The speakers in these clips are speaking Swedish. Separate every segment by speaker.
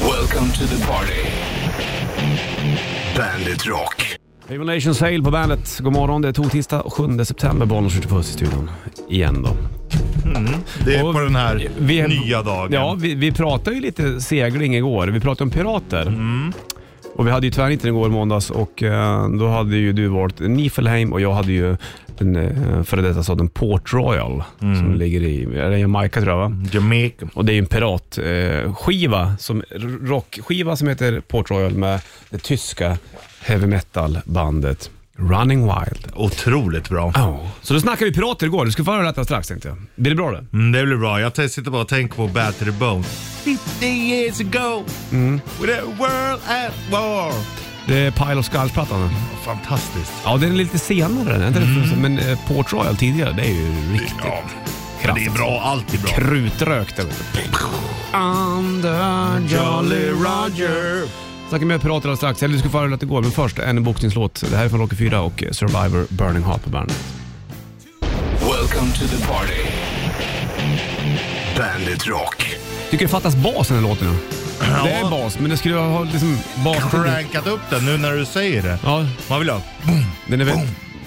Speaker 1: Welcome to the party. Bandit Rock.
Speaker 2: Evil Nation Sail på bandet. God morgon, det är tisdag 7 september. Bollnäs skjuter puss i studion. Igen då.
Speaker 3: Det är
Speaker 2: Och
Speaker 3: på den här
Speaker 2: vi-
Speaker 3: nya dagen.
Speaker 2: Ja, vi, vi pratade ju lite segling igår. Vi pratade om pirater.
Speaker 3: Mm.
Speaker 2: Och vi hade ju tvärnitten igår måndags och eh, då hade ju du valt Nifelheim och jag hade ju den eh, före detta staden Port Royal
Speaker 3: Mm.
Speaker 2: som ligger i är det Jamaica tror jag va?
Speaker 3: Jamaica.
Speaker 2: Och det är ju en piratskiva, eh, skiva som, rockskiva som heter Port Royal med det tyska heavy metal bandet Running Wild.
Speaker 3: Otroligt bra.
Speaker 2: Oh. Så då snackade vi pirater igår, du ska få höra detta strax tänkte jag. Blir det bra det?
Speaker 3: Mm, det blir bra. Jag t- sitter bara och tänker på Battery Bone. 50 years ago,
Speaker 2: Mm.
Speaker 3: with the world at war.
Speaker 2: Det är Pile of Skulls-plattan.
Speaker 3: Fantastiskt.
Speaker 2: Ja, den är lite senare, den, är inte det? men eh, Port Royal tidigare, det är ju riktigt
Speaker 3: Mm. Ja, men det
Speaker 2: kraftigt.
Speaker 3: är bra. Allt är bra.
Speaker 2: Krutrökt. eller? Under Jolly Roger. Snacka med pirater alldeles strax, eller du ska få höra hur det går, men först en boxningslåt. Det här är från Rocky 4 och eh, Survivor Burning Heart på bandet.
Speaker 1: Welcome to the party. Bandit Rock.
Speaker 2: Tycker det fattas bas i den här låten nu. Det är bas, men det skulle ha liksom bas...
Speaker 3: Crankat upp den nu när du säger det.
Speaker 2: Ja,
Speaker 3: Man vill ha
Speaker 2: den är väl...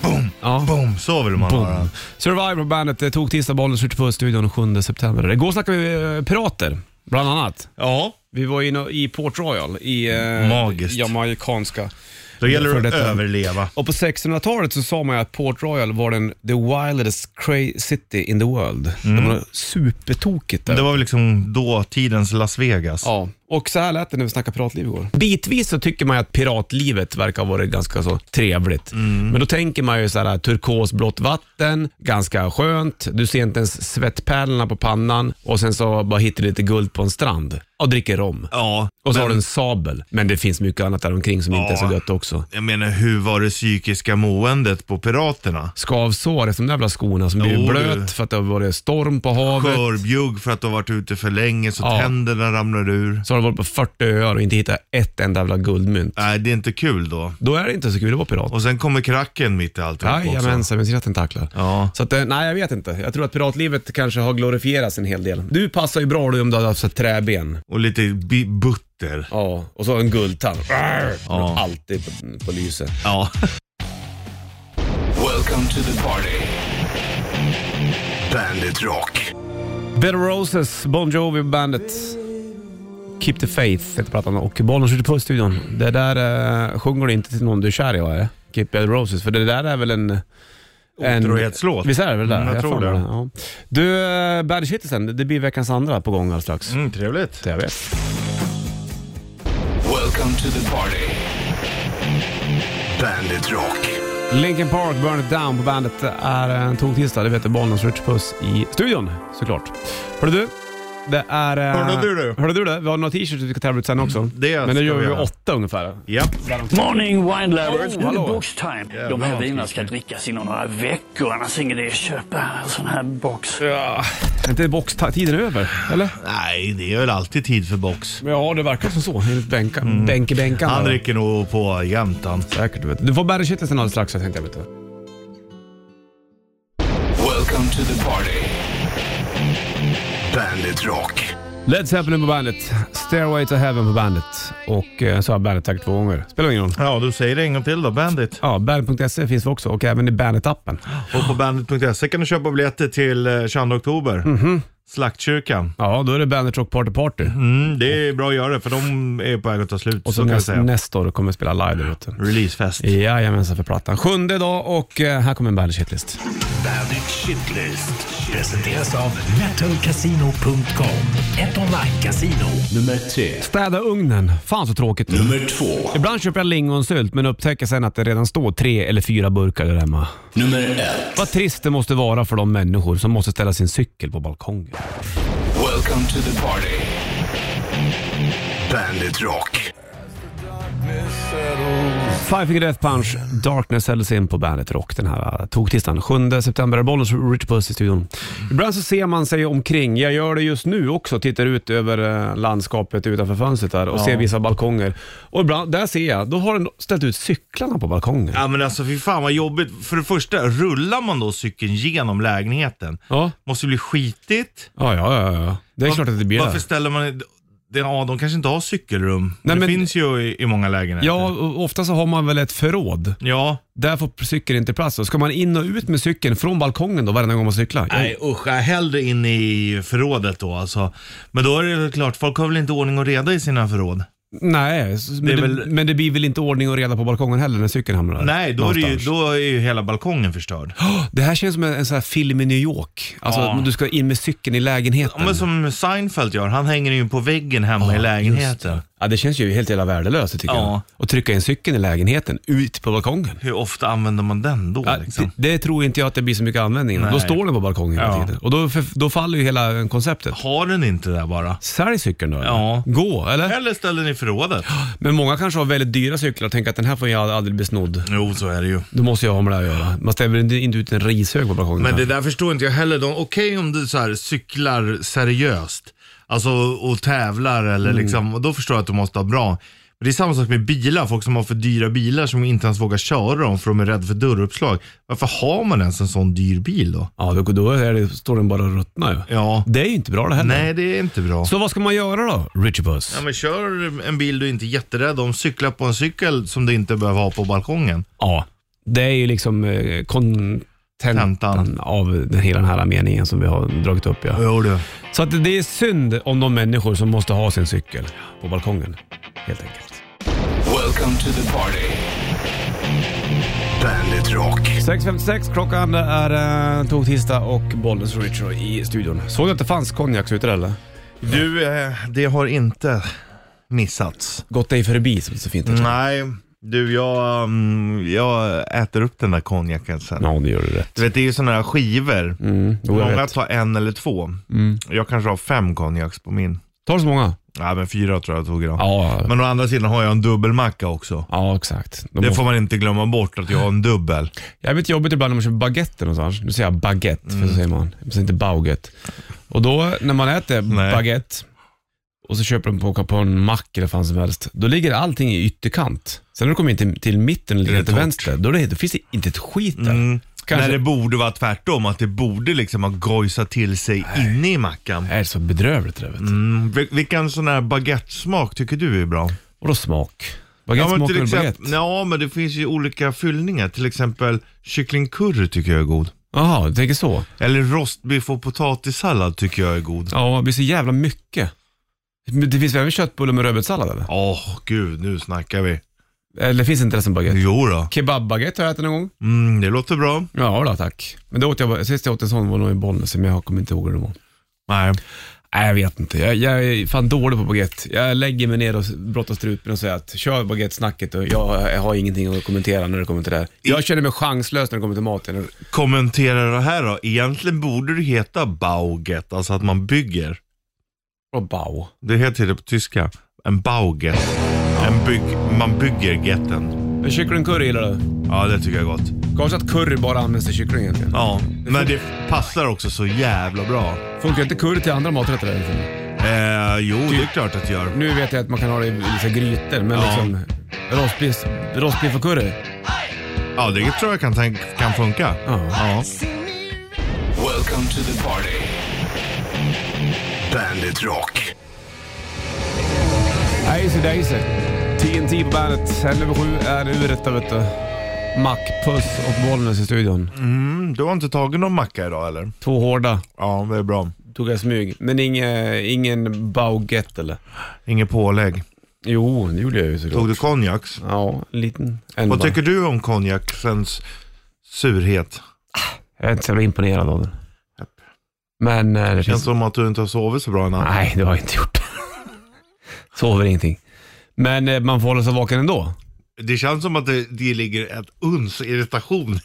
Speaker 3: boom,
Speaker 2: Ja.
Speaker 3: boom. Så vill man
Speaker 2: Boom.
Speaker 3: höra.
Speaker 2: Survivor bandet eh, tog tisdag bollen skjuter på studion den 7 september. Igår snackade vi eh, pirater, bland annat.
Speaker 3: Ja,
Speaker 2: Vi var inne i Port Royal i eh,
Speaker 3: Magiskt.
Speaker 2: jamaicanska.
Speaker 3: då gäller
Speaker 2: För
Speaker 3: det att
Speaker 2: detta.
Speaker 3: överleva.
Speaker 2: Och på 1600-talet så sa man ju att Port Royal var den the wildest cra- city in the world. Det var supertokigt där.
Speaker 3: Mm. Det var väl liksom dåtidens Las Vegas.
Speaker 2: Ja, och så här lät det när vi snackade piratliv igår. Bitvis så tycker man ju att piratlivet verkar ha varit ganska så trevligt. Men då tänker man ju så här turkosblått vatten, ganska skönt, du ser inte ens svettpärlorna på pannan och sen så bara hittar du lite guld på en strand och dricker rom.
Speaker 3: Ja,
Speaker 2: Och så
Speaker 3: men-
Speaker 2: har du en sabel. Men det finns mycket annat där omkring som inte är så
Speaker 3: Ja.
Speaker 2: gött också.
Speaker 3: Jag menar, hur var det psykiska måendet på piraterna?
Speaker 2: Skavsår efter de där jävla skorna som blir
Speaker 3: Jo, du.
Speaker 2: blöt för att det har varit storm på havet.
Speaker 3: Skörbjugg för att du har varit ute för länge så
Speaker 2: Ja.
Speaker 3: tänderna ramlar ur.
Speaker 2: Så har du varit på 40 öar och inte hittat ett enda jävla guldmynt.
Speaker 3: Nej, det är inte kul då.
Speaker 2: Då är det inte så kul att vara pirat.
Speaker 3: Och sen kommer kracken mitt i allt också.
Speaker 2: Jajamensan, med sina tentaklar.
Speaker 3: Ja.
Speaker 2: Så att, eh, nej jag vet inte. Jag tror att piratlivet kanske har glorifierats en hel del. Du passar ju bra du om du hade haft så här träben.
Speaker 3: Och lite bi- butter.
Speaker 2: Ja, och så en guldtand. Arr! Alltid på, på lyset.
Speaker 3: Ja.
Speaker 1: Welcome to the party. Bandit Rock.
Speaker 2: Bed of Roses, Bon Jovi bandet. Keep the Faith heter plattan och bollen skjuter på i studion. Det där eh, sjunger du inte till någon du är kär i va? eh? Keep Bed of Roses, för det där är väl en... en-
Speaker 3: Otrohetslåt.
Speaker 2: Visst är det väl det? där?
Speaker 3: Mm, jag tror
Speaker 2: fan
Speaker 3: det.
Speaker 2: Ja. Du, eh, Bad Citizen, det blir veckans andra på gång alldeles strax.
Speaker 3: Mm, trevligt.
Speaker 2: Jag vet.
Speaker 1: Welcome to the party. Bandit Rock.
Speaker 2: Linkin Park, Burn It Down på bandet är en toktisdag. Det vet du, Bollnäs Rich Puss i studion såklart. Hörru du, det är... eh,
Speaker 3: Hörru du, du.
Speaker 2: Hörru du det, vi har några t-shirts vi ska tävla ut sen också.
Speaker 3: det
Speaker 2: Men det
Speaker 3: ska
Speaker 2: gör
Speaker 3: vi
Speaker 2: vi vid
Speaker 3: göra.
Speaker 2: åtta ungefär.
Speaker 3: Ja.
Speaker 4: Morning wine lovers,
Speaker 2: Oh,
Speaker 4: nu är det
Speaker 2: hallå.
Speaker 4: box time. De
Speaker 3: Jävlar,
Speaker 4: här vinerna
Speaker 3: vad
Speaker 4: ska drickas inom några veckor, annars är ingen idé att köpa en sån här box.
Speaker 2: Ja. Är inte boxtiden över? Eller?
Speaker 3: Nej, det är väl alltid tid för box.
Speaker 2: Ja, det verkar som så. Enligt bänkan. Mm. Bänk i bänkan.
Speaker 3: Han
Speaker 2: där.
Speaker 3: dricker nog på jämt han.
Speaker 2: Säkert. Vet du. du får bära kittelsen alldeles strax jag tänkte jag. Vet du.
Speaker 1: Welcome to the party. Bandit Rock.
Speaker 2: Led Zeppelin på bandet. Stairway to Heaven på bandet. Och eh, så har jag bandet säkert två gånger. Spelar ingen roll.
Speaker 3: Ja, du säger det en gång till då, Bandit.
Speaker 2: Ja, bandet.se E finns vi också och även i bandet-appen.
Speaker 3: Och på bandit.se kan du köpa biljetter till eh, 22 oktober. Slaktkyrkan.
Speaker 2: Ja, då är det Bandet Rock Party Party.
Speaker 3: Mm, det är bra att göra för de är på väg att ta slut.
Speaker 2: Och
Speaker 3: så
Speaker 2: så,
Speaker 3: kan jag
Speaker 2: näst,
Speaker 3: säga.
Speaker 2: nästa år kommer vi spela live där ute.
Speaker 3: Releasefest.
Speaker 2: Jajamensan för plattan. Sjunde dag och eh, här kommer en Bandit Shitlist.
Speaker 5: Bandit Shitlist presenteras av metalcasino.com. Ett online-casino.
Speaker 1: Nummer tre.
Speaker 2: Städa ugnen. Fan så tråkigt.
Speaker 1: Nummer två.
Speaker 2: Ibland köper jag lingonsylt men upptäcker sen att det redan står tre eller fyra burkar där hemma.
Speaker 1: Nummer ett.
Speaker 2: Vad trist det måste vara för de människor som måste ställa sin cykel på balkongen.
Speaker 1: Welcome to the party. Bandit Rock.
Speaker 2: Five Finger Death Punch, Darkness säljs in på bandet Rock den här eh, tog-tisdagen. 7 september, Bollnäs Rich Puss i studion. Ibland så ser man sig omkring, jag gör det just nu också, tittar ut över eh, landskapet utanför fönstret där och ser vissa balkonger. Och ibland, där ser jag, då har den ställt ut cyklarna på balkongen.
Speaker 3: Ja men alltså fy fan vad jobbigt. För det första, rullar man då cykeln genom lägenheten?
Speaker 2: Ja,
Speaker 3: Måste bli skitigt.
Speaker 2: ja, ja, ja. ja. Det är klart att det blir
Speaker 3: Varför
Speaker 2: det.
Speaker 3: ställer man det, ja, de kanske inte har cykelrum.
Speaker 2: Nej,
Speaker 3: det
Speaker 2: men-
Speaker 3: finns ju i, i många lägenheter.
Speaker 2: Ja, och ofta så har man väl ett förråd.
Speaker 3: Ja.
Speaker 2: Där får cykeln inte plats. Då. Ska man in och ut med cykeln från balkongen då varje gång man cyklar?
Speaker 3: Nej usch, jag hellre in i förrådet då alltså. Men då är det väl klart, folk har väl inte ordning och reda i sina förråd?
Speaker 2: Nej, s- men det,
Speaker 3: väl-
Speaker 2: men det blir väl inte ordning och reda på balkongen heller när cykeln hamnar där?
Speaker 3: Nej, då är, det ju,
Speaker 2: någonstans.
Speaker 3: då är ju hela balkongen förstörd.
Speaker 2: Det här känns som en, en sån här film i New York. Alltså
Speaker 3: Ja.
Speaker 2: om du ska in med cykeln i
Speaker 3: Ja,
Speaker 2: lägenheten.
Speaker 3: men som Seinfeld gör, han hänger ju på väggen hemma i lägenheten.
Speaker 2: Ja, det känns ju helt jävla värdelöst tycker
Speaker 3: Ja.
Speaker 2: jag. Att trycka in cykeln i lägenheten, ut på balkongen.
Speaker 3: Hur ofta använder man den då
Speaker 2: Ja,
Speaker 3: liksom?
Speaker 2: det, det tror inte jag att det blir så mycket användning av. Då
Speaker 3: Nej.
Speaker 2: står den på balkongen hela
Speaker 3: Ja.
Speaker 2: tiden. Och då, för, då faller ju hela konceptet.
Speaker 3: Har den inte där bara?
Speaker 2: Sälj cykeln då eller?
Speaker 3: Ja.
Speaker 2: Gå, eller?
Speaker 3: Eller ställer den i förrådet?
Speaker 2: Men många kanske har väldigt dyra cyklar och tänker att den här får jag aldrig bli snodd.
Speaker 3: Jo, så är det ju.
Speaker 2: Då måste jag ha med det här att göra. Man ställer inte- inte ut en rishög på balkongen.
Speaker 3: Men
Speaker 2: här.
Speaker 3: det där förstår inte jag heller. De- Okej om du så här cyklar seriöst, alltså och tävlar eller liksom, och då förstår jag att du måste ha bra. Men det är samma sak med bilar, folk som har för dyra bilar som inte ens vågar köra dem för de är rädda för dörruppslag. Varför har man ens en sån dyr bil då?
Speaker 2: Ja, då, då är det, står den bara och ruttnar ju.
Speaker 3: Ja,
Speaker 2: Det är ju inte bra det heller.
Speaker 3: nej det är inte bra.
Speaker 2: Så vad ska man göra då, Richie Puss?
Speaker 3: Ja, men kör en bil du inte är jätterädd om, cykla på en cykel som du inte behöver ha på balkongen.
Speaker 2: Ja, det är ju liksom eh, kontentan
Speaker 3: Tentan.
Speaker 2: av den, hela den här meningen som vi har dragit upp. Ja.
Speaker 3: Jo du.
Speaker 2: Så att det är synd om de människor som måste ha sin cykel på balkongen, helt enkelt.
Speaker 1: Welcome to the party. Bandit Rock.
Speaker 2: 6.56 klockan, det är eh, tog tisdag och Bollens Richie i studion. Såg du att det fanns konjak ute där, eller?
Speaker 3: Du, eh, det har inte missats.
Speaker 2: Gått dig förbi som det så fint heter.
Speaker 3: Nej, du jag, mm, jag äter upp den där konjaken sen.
Speaker 2: Ja, det gör du rätt.
Speaker 3: Du vet det är ju sådana här skivor.
Speaker 2: Mm, jo, jag
Speaker 3: Många
Speaker 2: vet. Mm.
Speaker 3: tar en eller två. Jag kanske har fem konjaks på min.
Speaker 2: Tar du så många?
Speaker 3: Nej men fyra tror jag tog idag.
Speaker 2: Ja,
Speaker 3: Men å andra sidan har jag en dubbelmacka också.
Speaker 2: ja exakt. De
Speaker 3: Det
Speaker 2: måste-
Speaker 3: får man inte glömma bort att jag har en dubbel.
Speaker 2: Jag vet jobbigt ibland när man köper baguette någonstans. Nu säger jag baguette, för
Speaker 3: Mm.
Speaker 2: så säger man. Man säger inte bauget. Och då när man äter
Speaker 3: Nej.
Speaker 2: baguette och så köper man på, på en mack eller vad fan som helst, då ligger allting i ytterkant. Sen när du kommer in till, till mitten eller
Speaker 3: Är det
Speaker 2: till
Speaker 3: torrt?
Speaker 2: vänster, då, är det, då finns det inte ett skit där.
Speaker 3: Mm.
Speaker 2: Kanske-
Speaker 3: När det borde vara tvärtom, att det borde liksom ha gojsat till sig inne i mackan.
Speaker 2: Det är så bedrövligt det där, vet du.
Speaker 3: Mm. vil- Vilken sån här baguettesmak tycker du är bra?
Speaker 2: Och då smak. Baguette smakar väl baguette?
Speaker 3: exempel, ja, men det finns ju olika fyllningar. Till exempel kycklingcurry tycker jag är god.
Speaker 2: Jaha, du tänker så?
Speaker 3: Eller rostbiff och potatissallad tycker jag är god.
Speaker 2: Ja, det blir så jävla mycket. Men det finns väl även köttbullar med rödbetssallad eller?
Speaker 3: Åh, gud, nu snackar vi.
Speaker 2: Eller finns inte det som baguette?
Speaker 3: Jo då.
Speaker 2: Kebabbaguette har jag ätit någon gång.
Speaker 3: Mm, det låter bra.
Speaker 2: Ja då, tack. Men då åt jag, sist jag åt en sån var nog i Bollnäs, men jag kommer inte ihåg hur det var.
Speaker 3: Nej.
Speaker 2: Nej, jag vet inte. Jag, jag är fan dålig på baguette. Jag lägger mig ner och brottar strupen och säger att kör baguette-snacket och jag, jag har ingenting att kommentera när det kommer till det här. Jag känner mig chanslös när det kommer till maten.
Speaker 3: Kommentera det här då. Egentligen borde det heta Bauget, alltså att man bygger.
Speaker 2: Och bau.
Speaker 3: Det heter det på tyska. En Bauget. En bygg, man bygger getten.
Speaker 2: Men kycklingcurry gillar du?
Speaker 3: Ja, det tycker jag är gott.
Speaker 2: Kanske att curry bara används till kyckling egentligen.
Speaker 3: Ja, men det passar också så jävla bra.
Speaker 2: Funkar inte curry till andra maträtter? egentligen?
Speaker 3: Eh, jo, det är klart att det gör.
Speaker 2: Nu vet jag att man kan ha det i liksom, grytor, men
Speaker 3: Ja.
Speaker 2: liksom rostbiff, rostbiff och curry?
Speaker 3: Ja, det tror jag kan, tänk- kan funka. Ja.
Speaker 1: Welcome to the party. Bandit Rock.
Speaker 2: Daisy Daisy. TNT på bandet. 11 över 7 är uret där vet du. Mackpuss och Bollnäs i studion.
Speaker 3: Mm, du har inte tagit någon macka idag eller?
Speaker 2: Två hårda
Speaker 3: Ja, det är bra.
Speaker 2: tog jag smyg. Men inge, ingen baguette eller?
Speaker 3: Inget pålägg.
Speaker 2: Jo, det gjorde jag ju såklart.
Speaker 3: Tog du konjaks?
Speaker 2: Ja, en liten. En
Speaker 3: Vad
Speaker 2: bara.
Speaker 3: tycker du om konjaksens surhet?
Speaker 2: Jag är inte så jävla imponerad av den. Men eh, det
Speaker 3: Känns
Speaker 2: finns...
Speaker 3: som att du inte har sovit så bra i natt.
Speaker 2: Nej, det har jag inte gjort. Sover ingenting. Men eh, man får hålla sig vaken ändå.
Speaker 3: Det känns som att det, det ligger ett uns irritation.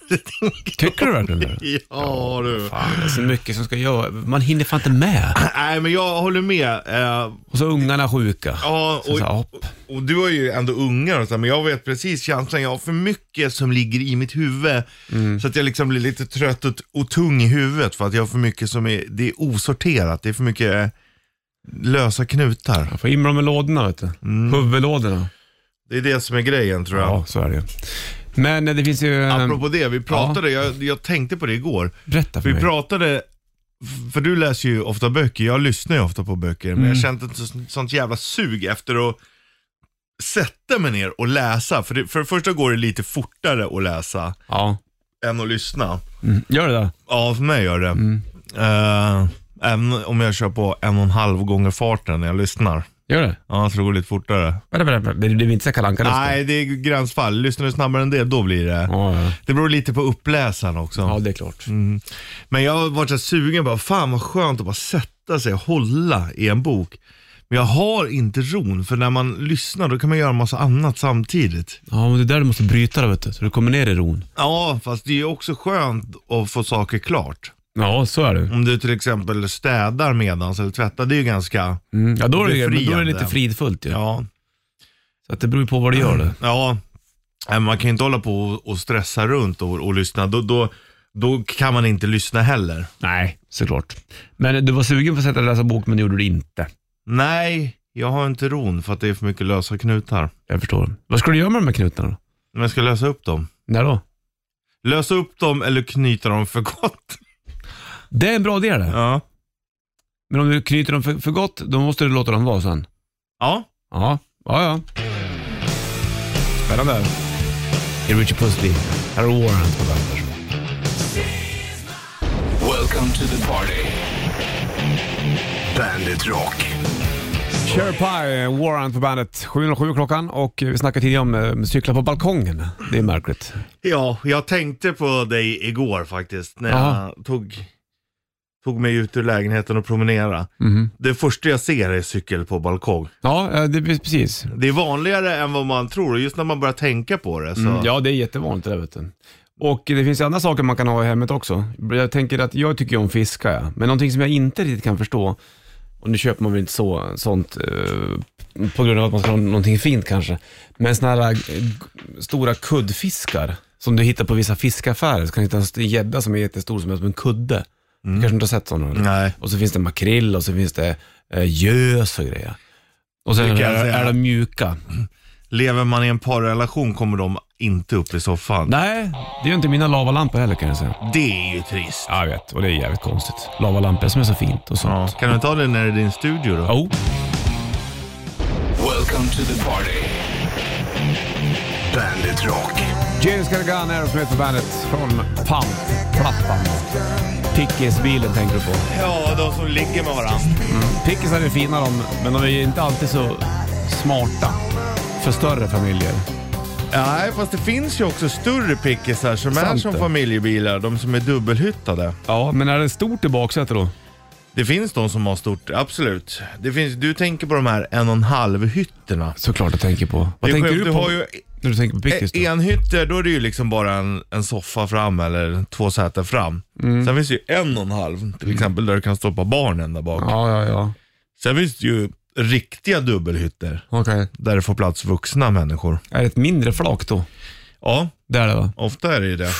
Speaker 2: Tycker du verkligen det?
Speaker 3: ja du.
Speaker 2: Fan, det är så mycket som ska göra. Man hinner fan inte med.
Speaker 3: Nej men jag håller med. Eh,
Speaker 2: Och så ungarna sjuka.
Speaker 3: ja,
Speaker 2: Så, så,
Speaker 3: och,
Speaker 2: hopp.
Speaker 3: och du har ju ändå ungar och så, men jag vet precis känslan. Jag har för mycket som ligger i mitt huvud.
Speaker 2: Mm.
Speaker 3: Så att jag liksom blir lite trött och, och tung i huvudet för att jag har för mycket som är, det är osorterat. Det är för mycket eh, lösa knutar.
Speaker 2: Jag får in dem med lådorna vet du. Huvudlådorna.
Speaker 3: Det är det som är grejen tror jag.
Speaker 2: Mm. Ja, så är det ju. Men eh, det finns ju... eh,
Speaker 3: Apropå det, vi pratade, jag, jag tänkte på det igår.
Speaker 2: Berätta för
Speaker 3: Vi
Speaker 2: mig.
Speaker 3: pratade för du läser ju ofta böcker, jag lyssnar ju ofta på böcker, men jag kände ett så- sånt jävla sug efter att sätta mig ner och läsa. För det, för det första går det lite fortare att läsa
Speaker 2: Ja.
Speaker 3: än att lyssna.
Speaker 2: Mm. Gör det där.
Speaker 3: Ja, för mig gör det. Eh, även om jag kör på en och en halv gånger farten när jag lyssnar.
Speaker 2: Gör det.
Speaker 3: Ja, så det går lite fortare.
Speaker 2: Vänta, vänta, vänta. Det blir inte så här Kalle Anka nästa?
Speaker 3: Nej, det är gränsfall. Lyssnar du snabbare än det, då blir det.
Speaker 2: Ja, ja.
Speaker 3: Det beror lite på uppläsaren också.
Speaker 2: ja, det är klart.
Speaker 3: Men jag har varit så här sugen, bara, fan vad skönt att bara sätta sig och hålla i en bok. Men jag har inte ron, för när man lyssnar då kan man göra massa annat samtidigt.
Speaker 2: Ja, men det är där du måste bryta det, vet du. Så du kommer ner i ron.
Speaker 3: Ja, fast det är ju också skönt att få saker klart.
Speaker 2: Ja, så är det.
Speaker 3: Om du till exempel städar medans eller tvättar, det är ju ganska,
Speaker 2: Mm. Ja, då är det, men då är det
Speaker 3: Befriande.
Speaker 2: lite fridfullt ju.
Speaker 3: ja.
Speaker 2: Så att det beror ju på vad du gör det.
Speaker 3: ja. Nej, men Man kan ju inte hålla på och- och stressa runt och, och lyssna. Då, då, då kan man inte lyssna heller.
Speaker 2: Nej, såklart. Men du var sugen på att sätta dig och läsa bok, men det gjorde du inte.
Speaker 3: Nej, jag har inte ron för att det är för mycket lösa knutar.
Speaker 2: Jag förstår. Vad ska du göra med de här knutarna då?
Speaker 3: Men jag ska lösa upp dem.
Speaker 2: När då?
Speaker 3: Lösa upp dem eller knyta dem för gott.
Speaker 2: Det är en bra idé det.
Speaker 3: Ja.
Speaker 2: Men om du knyter dem för, för gott, då måste du låta dem vara sen.
Speaker 3: Ja.
Speaker 2: Ja, ja, ja. Spännande. Det är Richard Puss Lee. Här har Warren på bandet.
Speaker 1: Welcome to the party. Bandit Rock.
Speaker 2: Cherry Pie, Warren på bandet. 7.07 klockan och vi snackade tidigare om eh, cykla på balkongen. Det är märkligt.
Speaker 3: Ja, jag tänkte på dig igår faktiskt när
Speaker 2: Jaha.
Speaker 3: jag tog, tog mig ut ur lägenheten och promenera.
Speaker 2: Mhm.
Speaker 3: Det första jag ser är cykel på balkong.
Speaker 2: Ja, eh, det är precis.
Speaker 3: Det är vanligare än vad man tror och just när man börjar tänka på det så.
Speaker 2: Mm, ja, det är jättevanligt det där, vet du. Och det finns ju andra saker man kan ha i hemmet också. Jag tänker att jag tycker ju om fiska, ja. men någonting som jag inte riktigt kan förstå, och nu köper man väl inte så, sånt eh, på grund av att man ska ha någonting fint kanske, men sådana här eh, g- stora kuddfiskar som du hittar på vissa fiskaffärer, så kan du hitta en st- gädda som är jättestor som är som en kudde. Du kanske inte har sett sådana? eller?
Speaker 3: Nej.
Speaker 2: Och så finns det makrill och så finns det eh, gös och grejer. Och sen
Speaker 3: Det kan jag
Speaker 2: är,
Speaker 3: säga.
Speaker 2: är de mjuka.
Speaker 3: Lever man i en parrelation kommer de inte upp i soffan.
Speaker 2: Nej, det är ju inte mina lavalampor heller kan jag säga.
Speaker 3: Det är ju trist.
Speaker 2: Ja, jag vet. Och det är jävligt konstigt. Lavalampor som är så fint och
Speaker 3: Ja.
Speaker 2: sånt. Oh.
Speaker 3: Kan du ta det när det är din studio då?
Speaker 2: Jo.
Speaker 1: Welcome to the party. Bandit Rock.
Speaker 2: James Gargan, Aerosmith på bandet från Pump, plattan. Pickisbilen tänker du på.
Speaker 3: Ja, de som ligger med varandra.
Speaker 2: Pickisar är fina de, men de är ju inte alltid så smarta för större familjer.
Speaker 3: Nej, fast det finns ju också större pickisar som är
Speaker 2: Sant
Speaker 3: som
Speaker 2: det.
Speaker 3: familjebilar, de som är dubbelhyttade.
Speaker 2: Ja, men är det stort i baksätet då?
Speaker 3: Det finns de som har stort, absolut. Det finns, du tänker på de här en och en halv hytterna.
Speaker 2: Såklart jag tänker på. Vad tänker
Speaker 3: själv-
Speaker 2: du på
Speaker 3: har ju
Speaker 2: när du tänker på pickis då?
Speaker 3: en hytte, då är det ju liksom bara en, en soffa fram eller två säten fram.
Speaker 2: Mm.
Speaker 3: Sen finns det ju en och en halv, till exempel där du kan stoppa barnen där bak.
Speaker 2: Ja, ja, ja.
Speaker 3: Sen finns det ju riktiga dubbelhytter,
Speaker 2: Okej.
Speaker 3: där det får plats vuxna människor.
Speaker 2: Är det ett mindre flak då?
Speaker 3: Ja,
Speaker 2: Det är det va?
Speaker 3: ofta är det ju det.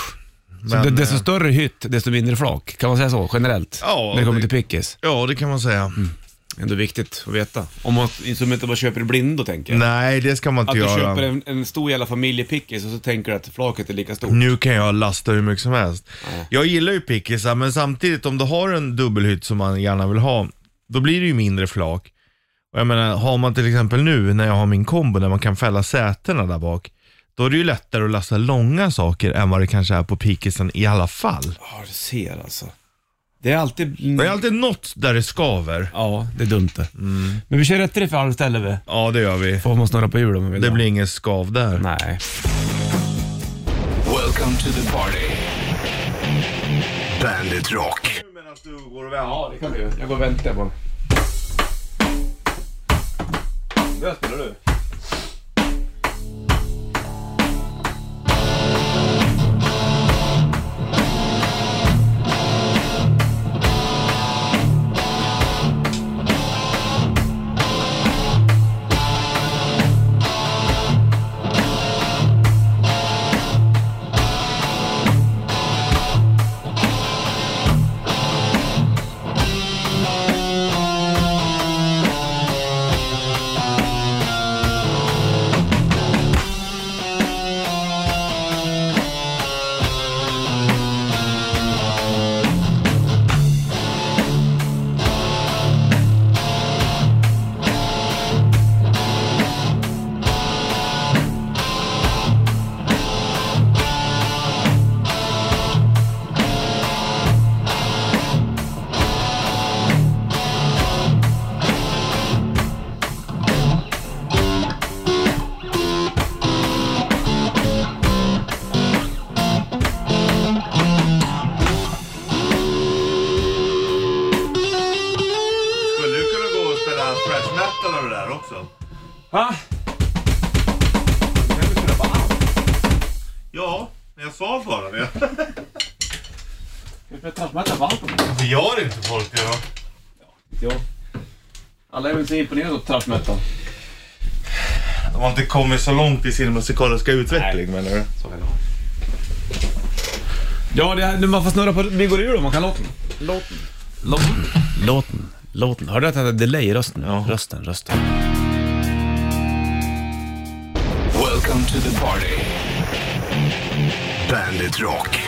Speaker 2: Så
Speaker 3: Men,
Speaker 2: det, desto
Speaker 3: eh,
Speaker 2: större hytt, desto mindre flak. Kan man säga så generellt?
Speaker 3: Ja,
Speaker 2: När det kommer
Speaker 3: det-
Speaker 2: till pickis.
Speaker 3: Ja, det kan man säga.
Speaker 2: Mm. Ändå viktigt att veta. Om man som inte bara köper i blindo tänker jag.
Speaker 3: Nej, det ska man inte
Speaker 2: Att du
Speaker 3: göra.
Speaker 2: köper en, en stor jävla familjepickis och så tänker du att flaket är lika stort.
Speaker 3: Nu kan jag lasta hur mycket som helst. Jag gillar ju pickisar, men samtidigt om du har en dubbelhytt som man gärna vill ha, då blir det ju mindre flak. Och jag menar, har man till exempel nu när jag har min kombo, när man kan fälla sätena där bak, då är det ju lättare att lasta långa saker än vad det kanske är på pickisen i alla fall.
Speaker 2: Ja, du ser alltså. Det är alltid...
Speaker 3: Det är alltid något där det skaver.
Speaker 2: Ja, det är dumt det.
Speaker 3: Mm.
Speaker 2: Men vi kör rätt riff för halv ställe vi.
Speaker 3: Ja, det gör vi.
Speaker 2: Får man snurra på hjul om man vill.
Speaker 3: Det
Speaker 2: ha.
Speaker 3: blir ingen skav där.
Speaker 2: Nej.
Speaker 1: Welcome to the party. Bandit Rock.
Speaker 2: Ja, det kan vi Jag går och väntar bara. Där spelar du.
Speaker 6: Thank
Speaker 2: Va?
Speaker 3: Ja, jag sa bara det.
Speaker 2: Alla
Speaker 3: Det gör inte folk det va?
Speaker 2: är väl inte imponerade av thrash metal.
Speaker 3: De har inte kommit så långt i sin musikaliska utveckling menar du?
Speaker 2: Ja, det här, man får snurra på... Vi går ur då, man kan låten. Låten. Låten. Låten. Låten. Hörde du att det hade delay i rösten?
Speaker 3: Ja.
Speaker 2: Rösten, rösten.
Speaker 1: Welcome to the party. Bandit Rock.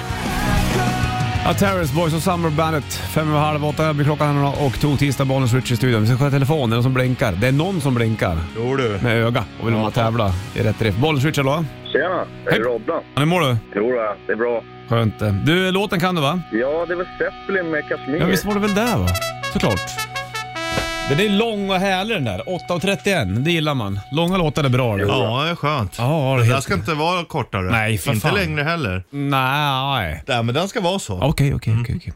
Speaker 2: Ja, Terrorist Boys och Summer Bandet. Fem över halv åtta blir klockan här och tog tisdag Bollnäs Rich i studion. Vi ska kolla telefonen, det är någon som blinkar. Det är någon som blinkar
Speaker 3: Jo du.
Speaker 2: med öga och vill ja, tävla i rätt riff. Bollnäs Rich, hallå?
Speaker 6: Tjena, det
Speaker 2: Hej.
Speaker 6: är Robban.
Speaker 2: Hur mår du?
Speaker 6: Jo då, det är bra.
Speaker 2: Skönt. Du, låten kan du va?
Speaker 6: Ja, det var Zeppelin med Kashmir.
Speaker 2: Ja, visst var det väl där va? Såklart. Den är lång och härlig den där. 8.31, det gillar man. Långa låtar är bra. det.
Speaker 3: Ja, det är skönt.
Speaker 2: Ja, det
Speaker 3: Den
Speaker 2: är
Speaker 3: där
Speaker 2: helt...
Speaker 3: ska inte vara kortare.
Speaker 2: Nej, för
Speaker 3: Inte
Speaker 2: fan.
Speaker 3: längre heller.
Speaker 2: Nej.
Speaker 3: Nej, men den ska vara så.
Speaker 2: Okej, okej, okej. okej.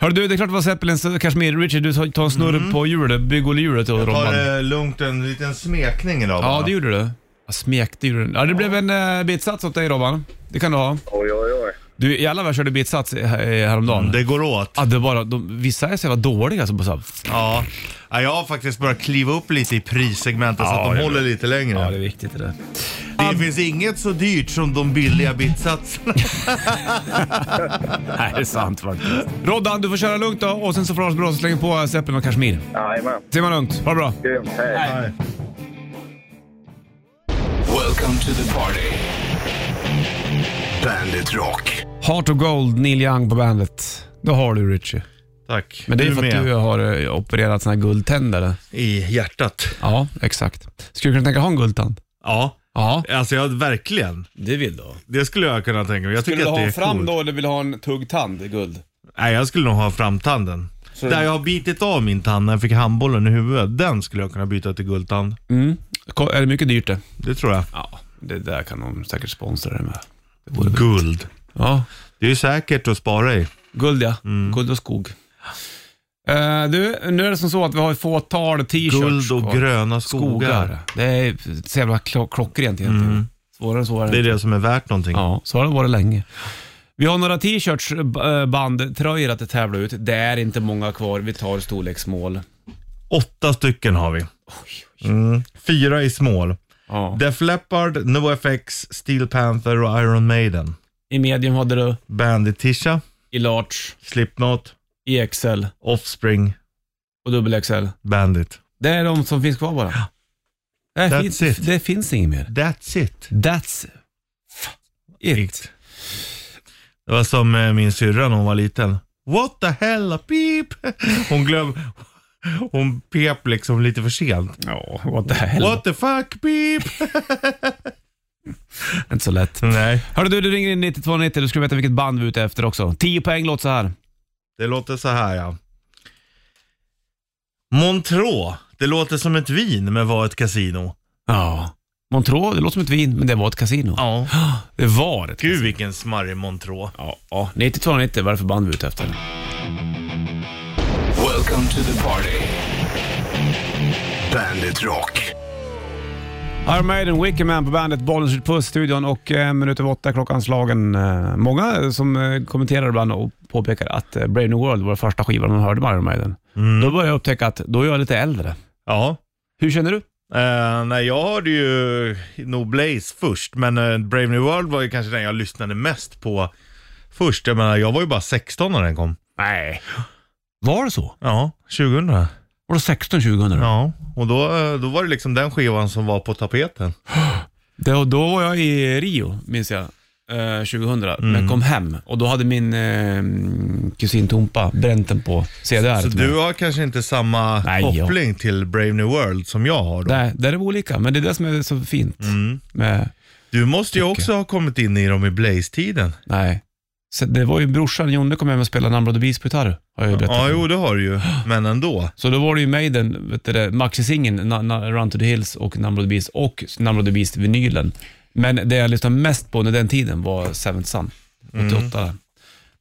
Speaker 2: Hör du, det är klart det var Zeppelins Kashmir. Richard, du tar en snurr på hjulet, bygghjulet och
Speaker 3: Ta
Speaker 2: Robban.
Speaker 3: det eh, lugnt, en liten smekning idag
Speaker 2: Ja,
Speaker 3: bara.
Speaker 2: det gjorde du. Ja, smek, det gjorde du. Ja, det blev en eh, bitsats åt dig Robban. Det kan du ha.
Speaker 6: Oj, oj, oj.
Speaker 2: Du, i alla fall körde bitsats eh, häromdagen.
Speaker 3: Det går åt.
Speaker 2: Ja, det är bara, de, vissa är så jävla dåliga. Alltså, på så här,
Speaker 3: Ja. Ja, jag har faktiskt börjat kliva upp lite i prissegmentet så
Speaker 2: Ja,
Speaker 3: att de
Speaker 2: det är
Speaker 3: håller lite längre.
Speaker 2: ja, det
Speaker 3: det
Speaker 2: är viktigt det där.
Speaker 3: finns inget så dyrt som de billiga bitsatserna.
Speaker 2: Nej, det är sant faktiskt. Roddan, du får köra lugnt då och sen så får du ha det så bra så slänger på eh, Zeppelin och Kashmir.
Speaker 6: Jajamän,
Speaker 2: Simma lugnt, ha det bra.
Speaker 6: grymt. Hej.
Speaker 1: Welcome to the party. Bandit Rock.
Speaker 2: Heart of Gold, Neil Young på bandet. Då har du Richie.
Speaker 3: Tack.
Speaker 2: Men det är
Speaker 3: Du
Speaker 2: för att
Speaker 3: med.
Speaker 2: du har eh, opererat såna här guldtänder.
Speaker 3: I hjärtat.
Speaker 2: Ja, exakt. Skulle du kunna tänka dig ha en guldtand?
Speaker 3: Ja,
Speaker 2: Ja.
Speaker 3: alltså jag verkligen.
Speaker 2: Det vill du
Speaker 3: Det skulle jag kunna tänka mig. Jag tycker att det är coolt.
Speaker 2: då eller vill du ha en tuggtand i guld?
Speaker 3: Nej, jag skulle nog ha framtanden. Där jag har bitit av min tand när jag fick handbollen i huvudet. Den skulle jag kunna byta till guldtand.
Speaker 2: Ko- Är det mycket dyrt det?
Speaker 3: Det tror jag.
Speaker 2: Ja, det där kan de säkert sponsra det med. Det vore bra.
Speaker 3: Guld.
Speaker 2: Ja,
Speaker 3: Det är ju säkert att spara i.
Speaker 2: guld ja.
Speaker 3: Mm.
Speaker 2: Guld och skog. Eh, du, nu är det som så att vi har ett fåtal t-shirts
Speaker 3: Guld och
Speaker 2: kvar.
Speaker 3: gröna skogar. Mm.
Speaker 2: skogar. Det är så jävla klo- klockrent egentligen. Svårare än så är det
Speaker 3: Det är
Speaker 2: inte.
Speaker 3: det som är värt någonting.
Speaker 2: Ja, så har det varit länge. Vi har några t-shirts, b- eh, band, tröjor att tävla ut. Det är inte många kvar. Vi tar storleksmål.
Speaker 3: Åtta stycken har vi. Mm. Fyra i small.
Speaker 2: Ja.
Speaker 3: Def Leppard, NoFX, Steel Panther och Iron Maiden.
Speaker 2: I medium hade du
Speaker 3: Bandit-tisha,
Speaker 2: i large,
Speaker 3: Slipknot,
Speaker 2: i XL
Speaker 3: Offspring,
Speaker 2: och dubbel XL.
Speaker 3: Bandit.
Speaker 2: Det är de som finns kvar bara. Det,
Speaker 3: That's
Speaker 2: finns,
Speaker 3: it.
Speaker 2: det finns inget mer.
Speaker 3: That's it.
Speaker 2: That's it.
Speaker 3: It. Det var som eh, min syrra när hon var liten. What the hell, beep! Hon glöm... Hon pep liksom lite för sent.
Speaker 2: Ja, what the hell.
Speaker 3: What the fuck, beep!
Speaker 2: Inte så lätt.
Speaker 3: Nej,
Speaker 2: Hörru du, du ringer in 9290. Du skulle veta vilket band vi är ute efter också. 10 poäng låter så här.
Speaker 3: det låter så här ja. Montreux. Det låter som ett vin men var ett kasino.
Speaker 2: Ja. Montreux, det låter som ett vin, men det var ett kasino.
Speaker 3: Ja.
Speaker 2: Det var ett
Speaker 3: Gud
Speaker 2: kasino.
Speaker 3: vilken smarrig Montreux.
Speaker 2: Ja, ja. 9290, vad är det för band vi är ute efter?
Speaker 1: Welcome to the party. Bandit Rock.
Speaker 2: Iron Maiden, Wicked Man på bandet, Bollens Ritz Puss studion och en minut över åtta klockan slagen. Eh, Många eh, som eh, kommenterar ibland och påpekar att eh, Brave New World var den första skivan man hörde med Iron Maiden. Då började jag upptäcka att då är jag lite äldre.
Speaker 3: Ja.
Speaker 2: Hur känner du?
Speaker 3: Eh, nej, jag hörde ju No Blaze först, men eh, Brave New World var ju kanske den jag lyssnade mest på först. Jag menar, jag var ju bara 16 när den kom.
Speaker 2: Nej. Var det så?
Speaker 3: Ja, 2000.
Speaker 2: Var det 16, 2000?
Speaker 3: Ja, och då, eh, då var det liksom den skivan som var på tapeten.
Speaker 2: Då, då var jag i Rio, minns jag, eh, 2000, men kom hem och då hade min eh, kusin Tompa bränt den på CDR.
Speaker 3: Så
Speaker 2: till mig.
Speaker 3: du har kanske inte samma
Speaker 2: Nej, ja.
Speaker 3: koppling till Brave New World som jag har då.
Speaker 2: Nej, där är det olika, men det är det som är så fint.
Speaker 3: Mm.
Speaker 2: Med,
Speaker 3: Du måste ju också ha kommit in i dem i Blaze-tiden.
Speaker 2: nej. Så det var ju brorsan, Jonne kom hem och spelade Namn Brother Beast på gitarr, har jag ju berättat.
Speaker 3: Ja,
Speaker 2: om.
Speaker 3: jo det har du ju, men ändå.
Speaker 2: Så då var det ju Maiden, vet du det, maxisingeln, Na- Na- Run to the Hills och Number of the Beast och Number of the
Speaker 3: Mm.
Speaker 2: Beast-vinylen. Men det jag lyssnade mest på under den tiden var Seventh Son, 88.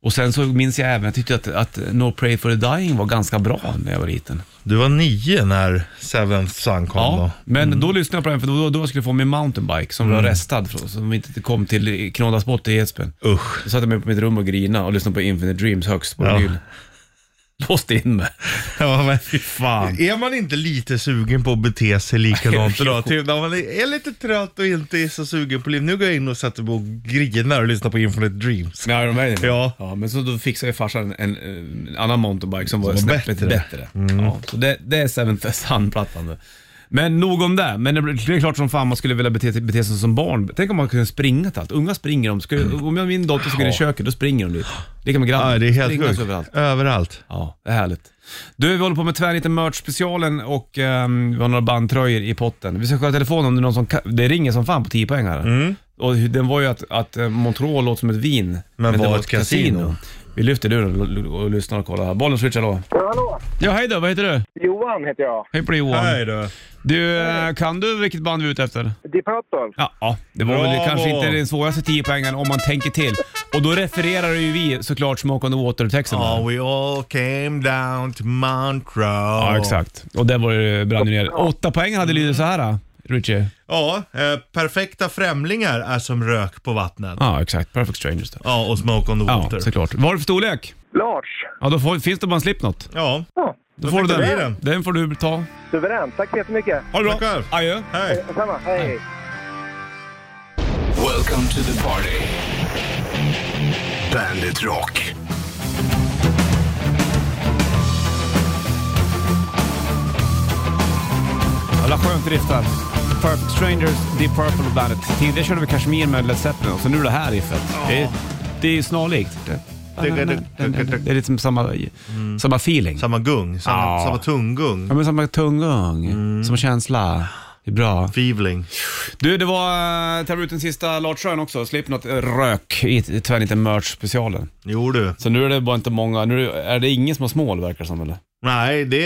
Speaker 2: Och sen så minns jag även, jag tyckte att, att No Pray For The Dying var ganska bra när jag var liten.
Speaker 3: Du var nio när Seventh Son kom
Speaker 2: Ja,
Speaker 3: då.
Speaker 2: men då lyssnade jag på den för då, då skulle jag få min mountainbike som
Speaker 3: Mm.
Speaker 2: var restad, från, som inte kom till Knådas bort i Edsbyn.
Speaker 3: Usch.
Speaker 2: Då satt jag mig på mitt rum och grina och lyssnade på Infinite Dreams högst på
Speaker 3: Ja.
Speaker 2: vinyl. Låste in mig.
Speaker 3: Ja, men,
Speaker 2: Fy fan.
Speaker 3: är man inte lite sugen på att bete sig likadant
Speaker 2: Jo.
Speaker 3: då? Typ när man är lite trött och inte är så sugen på liv. Nu går jag in och sätter mig och grinar och lyssnar på Infinite Dreams.
Speaker 2: Med Iron Maiden?
Speaker 3: Ja.
Speaker 2: ja. Men så då fixade ju farsan en, en, en annan mountainbike som var
Speaker 3: Som var
Speaker 2: snäppet
Speaker 3: bättre. Mm.
Speaker 2: bättre. Ja, så det, det är Seventh Sun-plattan. det. Men nog om det. Men det det är klart som fan man skulle vilja bete, bete sig som barn. Tänk om man kunde springa till allt. Unga springer de. Skulle, Om jag min dotter skulle in i köket, då springer de dit. Lika med grabben.
Speaker 3: Ja, Mm. det är helt
Speaker 2: Springas
Speaker 3: sjukt.
Speaker 2: överallt.
Speaker 3: Överallt.
Speaker 2: Ja, det är härligt. Du, vi håller på med tvärniten merch-specialen och ehm, vi har några bandtröjor i potten. Vi ska kolla telefonen om det är någon som ka- Det ringer som fan på 10 poäng här. Och hur- den var ju att, att eh, Montreal låter som ett vin, Mm. men,
Speaker 3: var
Speaker 2: det
Speaker 3: ett kasino.
Speaker 2: Vi lyfter luren och, l- och lyssnar och kollar här. Bollen switchar då.
Speaker 6: Ja, hallå!
Speaker 2: Ja, hej då, vad heter du?
Speaker 6: Johan heter jag.
Speaker 2: Hej på dig Johan.
Speaker 3: Nej då.
Speaker 2: Du, eh, kan du vilket band vi är ute efter?
Speaker 6: Deep Purple.
Speaker 2: Ja, ja det var väl
Speaker 3: Bravo!
Speaker 2: kanske inte den svåraste 10 poängen om man tänker till. Och då refererar ju vi såklart Smoke on the Water-texten. där.
Speaker 3: Oh, we all came down to Montreux.
Speaker 2: Ja, exakt. Och där var det brann ju ner. Åtta poäng hade lydit så här, då, Richie.
Speaker 3: Ja, eh, perfekta främlingar är som rök på vattnet.
Speaker 2: Ja, exakt. Perfect Strangers. Då.
Speaker 3: Ja, och Smoke on the
Speaker 2: Ja,
Speaker 3: Water.
Speaker 2: såklart. Vad har du för storlek?
Speaker 6: Lars.
Speaker 2: Ja, då får, finns det bara en Slipknot.
Speaker 3: Ja,
Speaker 6: Ja,
Speaker 2: Då får du
Speaker 3: fick du
Speaker 2: den.
Speaker 3: den.
Speaker 2: den. får du ta.
Speaker 6: suveränt. Tack så jättemycket.
Speaker 2: Ha det
Speaker 3: Tack
Speaker 2: bra.
Speaker 3: själv.
Speaker 2: Adjö.
Speaker 3: hej.
Speaker 6: Detsamma. Hej.
Speaker 1: Welcome to the party. Bandit Rock.
Speaker 2: Jävla skönt riff där. Perfect Strangers, Deep Purple och Bandet. Tidigare körde vi Kashmir med Led Zeppelin och så nu är det här riffet. Det, är- det är ju snarlikt. Det är liksom samma, samma feeling.
Speaker 3: Samma gung, samma,
Speaker 2: Ja.
Speaker 3: samma tunggung.
Speaker 2: Ja, men samma tungung, samma känsla. Det är bra.
Speaker 3: Feeling.
Speaker 2: Du, det var äh, tar ut den sista Lartrön också. Slipknot eh, rök i i Tvärniten Merch-specialen.
Speaker 3: Jo du.
Speaker 2: Så nu är det bara inte många, nu är det ingen som har smål verkar det som eller?
Speaker 3: Nej, det,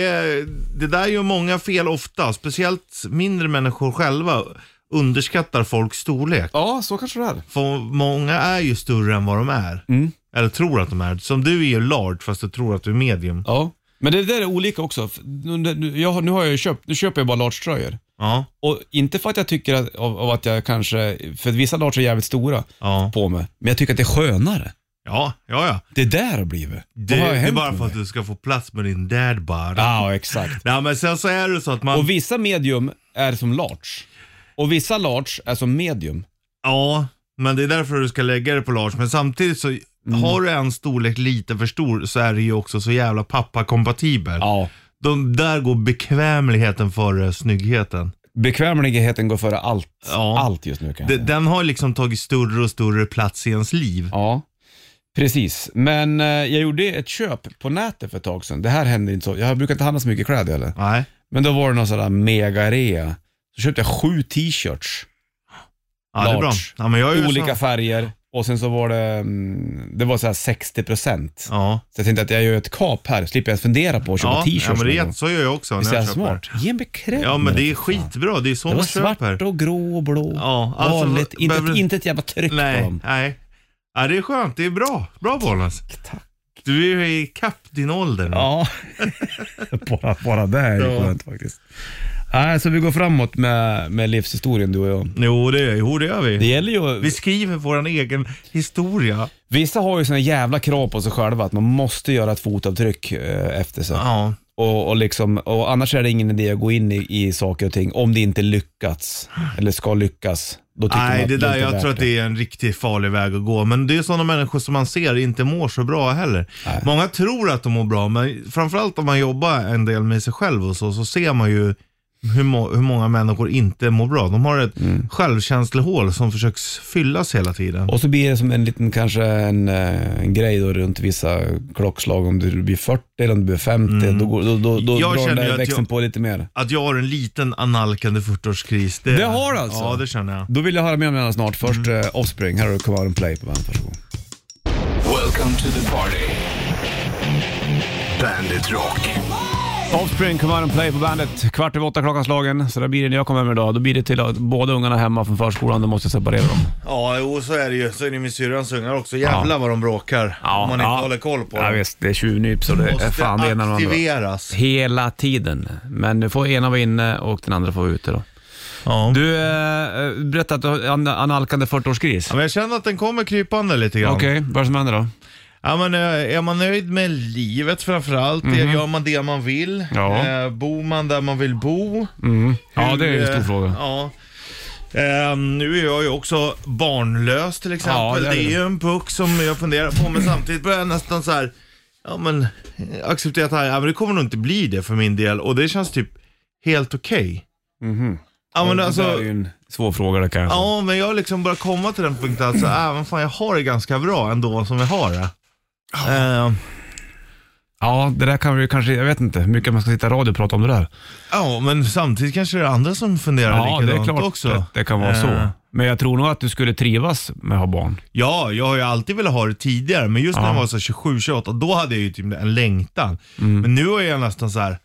Speaker 3: det där gör många fel ofta. Speciellt mindre människor själva underskattar folks storlek.
Speaker 2: Ja, så kanske det är.
Speaker 3: För många är ju större än vad de är.
Speaker 2: Mm.
Speaker 3: Eller tror att de är. Som du är ju large fast du tror att du är medium.
Speaker 2: Ja. Men det där är olika också. F- nu- nu- Jag, har- nu, har jag ju köpt, nu köper jag bara Large-tröjor.
Speaker 3: Ja,
Speaker 2: Och inte för att jag tycker att, av, av att jag kanske, för att vissa Large är jävligt stora
Speaker 3: ja,
Speaker 2: på mig, men jag tycker att det är skönare.
Speaker 3: ja, ja. ja.
Speaker 2: Det där har blivit.
Speaker 3: Det,
Speaker 2: Vad har
Speaker 3: det är
Speaker 2: hänt
Speaker 3: bara
Speaker 2: med
Speaker 3: för att
Speaker 2: mig?
Speaker 3: du ska få plats med din dad bod.
Speaker 2: Ja, exakt.
Speaker 3: Nej men sen så är det så att man...
Speaker 2: Och vissa medium är som large. Och vissa large är som medium.
Speaker 3: Ja, men det är därför du ska lägga det på Lars. Men samtidigt så
Speaker 2: Mm.
Speaker 3: har du en storlek lite för stor så är det ju också så jävla pappakompatibel.
Speaker 2: Ja.
Speaker 3: De, där går bekvämligheten före snyggheten.
Speaker 2: Bekvämligheten går före allt,
Speaker 3: Ja.
Speaker 2: allt just nu kan jag
Speaker 3: De,
Speaker 2: säga.
Speaker 3: den har liksom tagit större och större plats i ens liv.
Speaker 2: Ja, precis. Men eh, jag gjorde ett köp på nätet för ett tag sedan. Det här händer inte så. Jag brukar inte handla så mycket kläder heller.
Speaker 3: Nej.
Speaker 2: Men då var det någon sån där mega-rea. Så köpte jag sju t-shirts.
Speaker 3: Ja, det är bra.
Speaker 2: Large.
Speaker 3: Ja, men jag är ju
Speaker 2: Olika
Speaker 3: Så...
Speaker 2: färger. Och sen så var det, mm, det var så här 60 procent.
Speaker 3: Ja.
Speaker 2: Så jag tänkte att jag gör ett kap här, slipper jag ens fundera på att köpa
Speaker 3: Ja,
Speaker 2: t-shirts.
Speaker 3: ja, men det
Speaker 2: någon
Speaker 3: är,
Speaker 2: gång.
Speaker 3: jätte- så gör jag också
Speaker 2: Visst
Speaker 3: när
Speaker 2: är
Speaker 3: jag
Speaker 2: jag
Speaker 3: köper.
Speaker 2: smart? Ge en bekräftelse.
Speaker 3: Ja, men det är skitbra. Det är så
Speaker 2: Det var
Speaker 3: man
Speaker 2: svart
Speaker 3: köper.
Speaker 2: och grå och blå.
Speaker 3: Ja, alltså,
Speaker 2: Vanligt. Inte,
Speaker 3: behöver-
Speaker 2: ett, inte ett jävla tryck på
Speaker 3: Nej,
Speaker 2: dem.
Speaker 3: nej. Ja, det är skönt. Det är bra. Bra Bollnäs.
Speaker 2: Tack.
Speaker 3: Du är ju i kapp din ålder nu.
Speaker 2: Ja, bara, bara det är ju
Speaker 3: Ja.
Speaker 2: skönt faktiskt. Nej, så vi går framåt med, med livshistorien du och jag.
Speaker 3: Jo, det, jo, det gör vi.
Speaker 2: Det gäller ju,
Speaker 3: Vi skriver vår egen historia.
Speaker 2: vissa har ju såna jävla krav på sig själva att man måste göra ett fotavtryck eh, efter sig.
Speaker 3: Ja.
Speaker 2: Och, och, liksom, och annars är det ingen idé att gå in i, i saker och ting om det inte lyckats eller ska lyckas. Då tycker man
Speaker 3: Nej,
Speaker 2: att
Speaker 3: det där,
Speaker 2: inte är
Speaker 3: jag
Speaker 2: värt
Speaker 3: tror att det är en riktigt farlig väg att gå. Men det är sådana människor som man ser inte mår så bra heller. Många tror att de mår bra, men framförallt om man jobbar en del med sig själv och så, så ser man ju hur, må- hur många människor inte mår bra. De har ett
Speaker 2: Mm.
Speaker 3: självkänslehål som försöks fyllas hela tiden.
Speaker 2: Och så blir det som en liten kanske en, eh, en grej då runt vissa klockslag. Om du blir 40 eller om du blir 50, då, går- då, då, då
Speaker 3: Mm. Jag
Speaker 2: drar den
Speaker 3: känner ju
Speaker 2: där
Speaker 3: att
Speaker 2: växeln
Speaker 3: jag-
Speaker 2: på lite mer.
Speaker 3: Att jag har en liten analkande 40-årskris.
Speaker 2: Det har du alltså?
Speaker 3: Ja, det känner jag.
Speaker 2: Då vill jag höra mer om det här snart. Först eh, Offspring, här har du Come Out and Play på bandet. Varsågod.
Speaker 1: Welcome to the party. Bandit Rock.
Speaker 2: Offspring, Come Out and Play på bandet. Kvart över åtta klockan slagen. Så där blir det när jag kommer hem idag. Då blir det till att båda ungarna är hemma från förskolan. Då måste jag separera dem.
Speaker 3: Ja, jo, så är det ju. Så är det min syrrans ungar också. Jävlar vad de bråkar. om man inte håller koll på
Speaker 2: Ja,
Speaker 3: dem.
Speaker 2: visst, det är tjuvnyps och det är
Speaker 3: Måste
Speaker 2: fan det ena och det andra.
Speaker 3: aktiveras.
Speaker 2: Hela tiden. Men nu får ena vara inne och den andra får vara ute då.
Speaker 3: Ja.
Speaker 2: Du eh, berättade att du har en analkande 40-årsgris.
Speaker 3: Ja, men jag känner att den kommer krypande lite grann.
Speaker 2: Okej, vad är det som händer då?
Speaker 3: Ja, men, eh, är man nöjd med livet framförallt? Mm. Gör man det man vill?
Speaker 2: Mhm. Ja. Mm.
Speaker 3: Eh, bor man där man vill bo?
Speaker 2: Ja,
Speaker 3: Hur,
Speaker 2: det är en stor
Speaker 3: eh,
Speaker 2: fråga.
Speaker 3: Ja. Eh, nu är jag ju också barnlös till exempel.
Speaker 2: Ja, det
Speaker 3: det,
Speaker 2: är
Speaker 3: är
Speaker 2: det.
Speaker 3: ju en puck som jag funderar på, men samtidigt börjar jag nästan så här, ja men eh, acceptera att det här, ja, men det kommer nog inte bli det för min del och det känns typ helt okej. Ja men
Speaker 2: Mhm. det
Speaker 3: alltså,
Speaker 2: är ju en svår fråga det kan jag säga.
Speaker 3: ja men jag har liksom börjat komma till den punkten att så, äh, men fan, jag har det ganska bra ändå som jag har det. Eh,
Speaker 2: Ja, det där kan vi ju kanske, jag vet inte hur mycket man ska sitta i radio och prata om det där.
Speaker 3: Ja, men samtidigt kanske det är andra som funderar
Speaker 2: Ja, det är
Speaker 3: likadant
Speaker 2: klart
Speaker 3: också.
Speaker 2: att det kan vara så.
Speaker 3: Eh,
Speaker 2: Men jag tror nog att du skulle trivas med att ha barn.
Speaker 3: Ja, jag har ju alltid velat ha det tidigare, men just när jag var så här 27, 28, då hade jag ju typ en längtan.
Speaker 2: Mm.
Speaker 3: Men nu är jag nästan så här,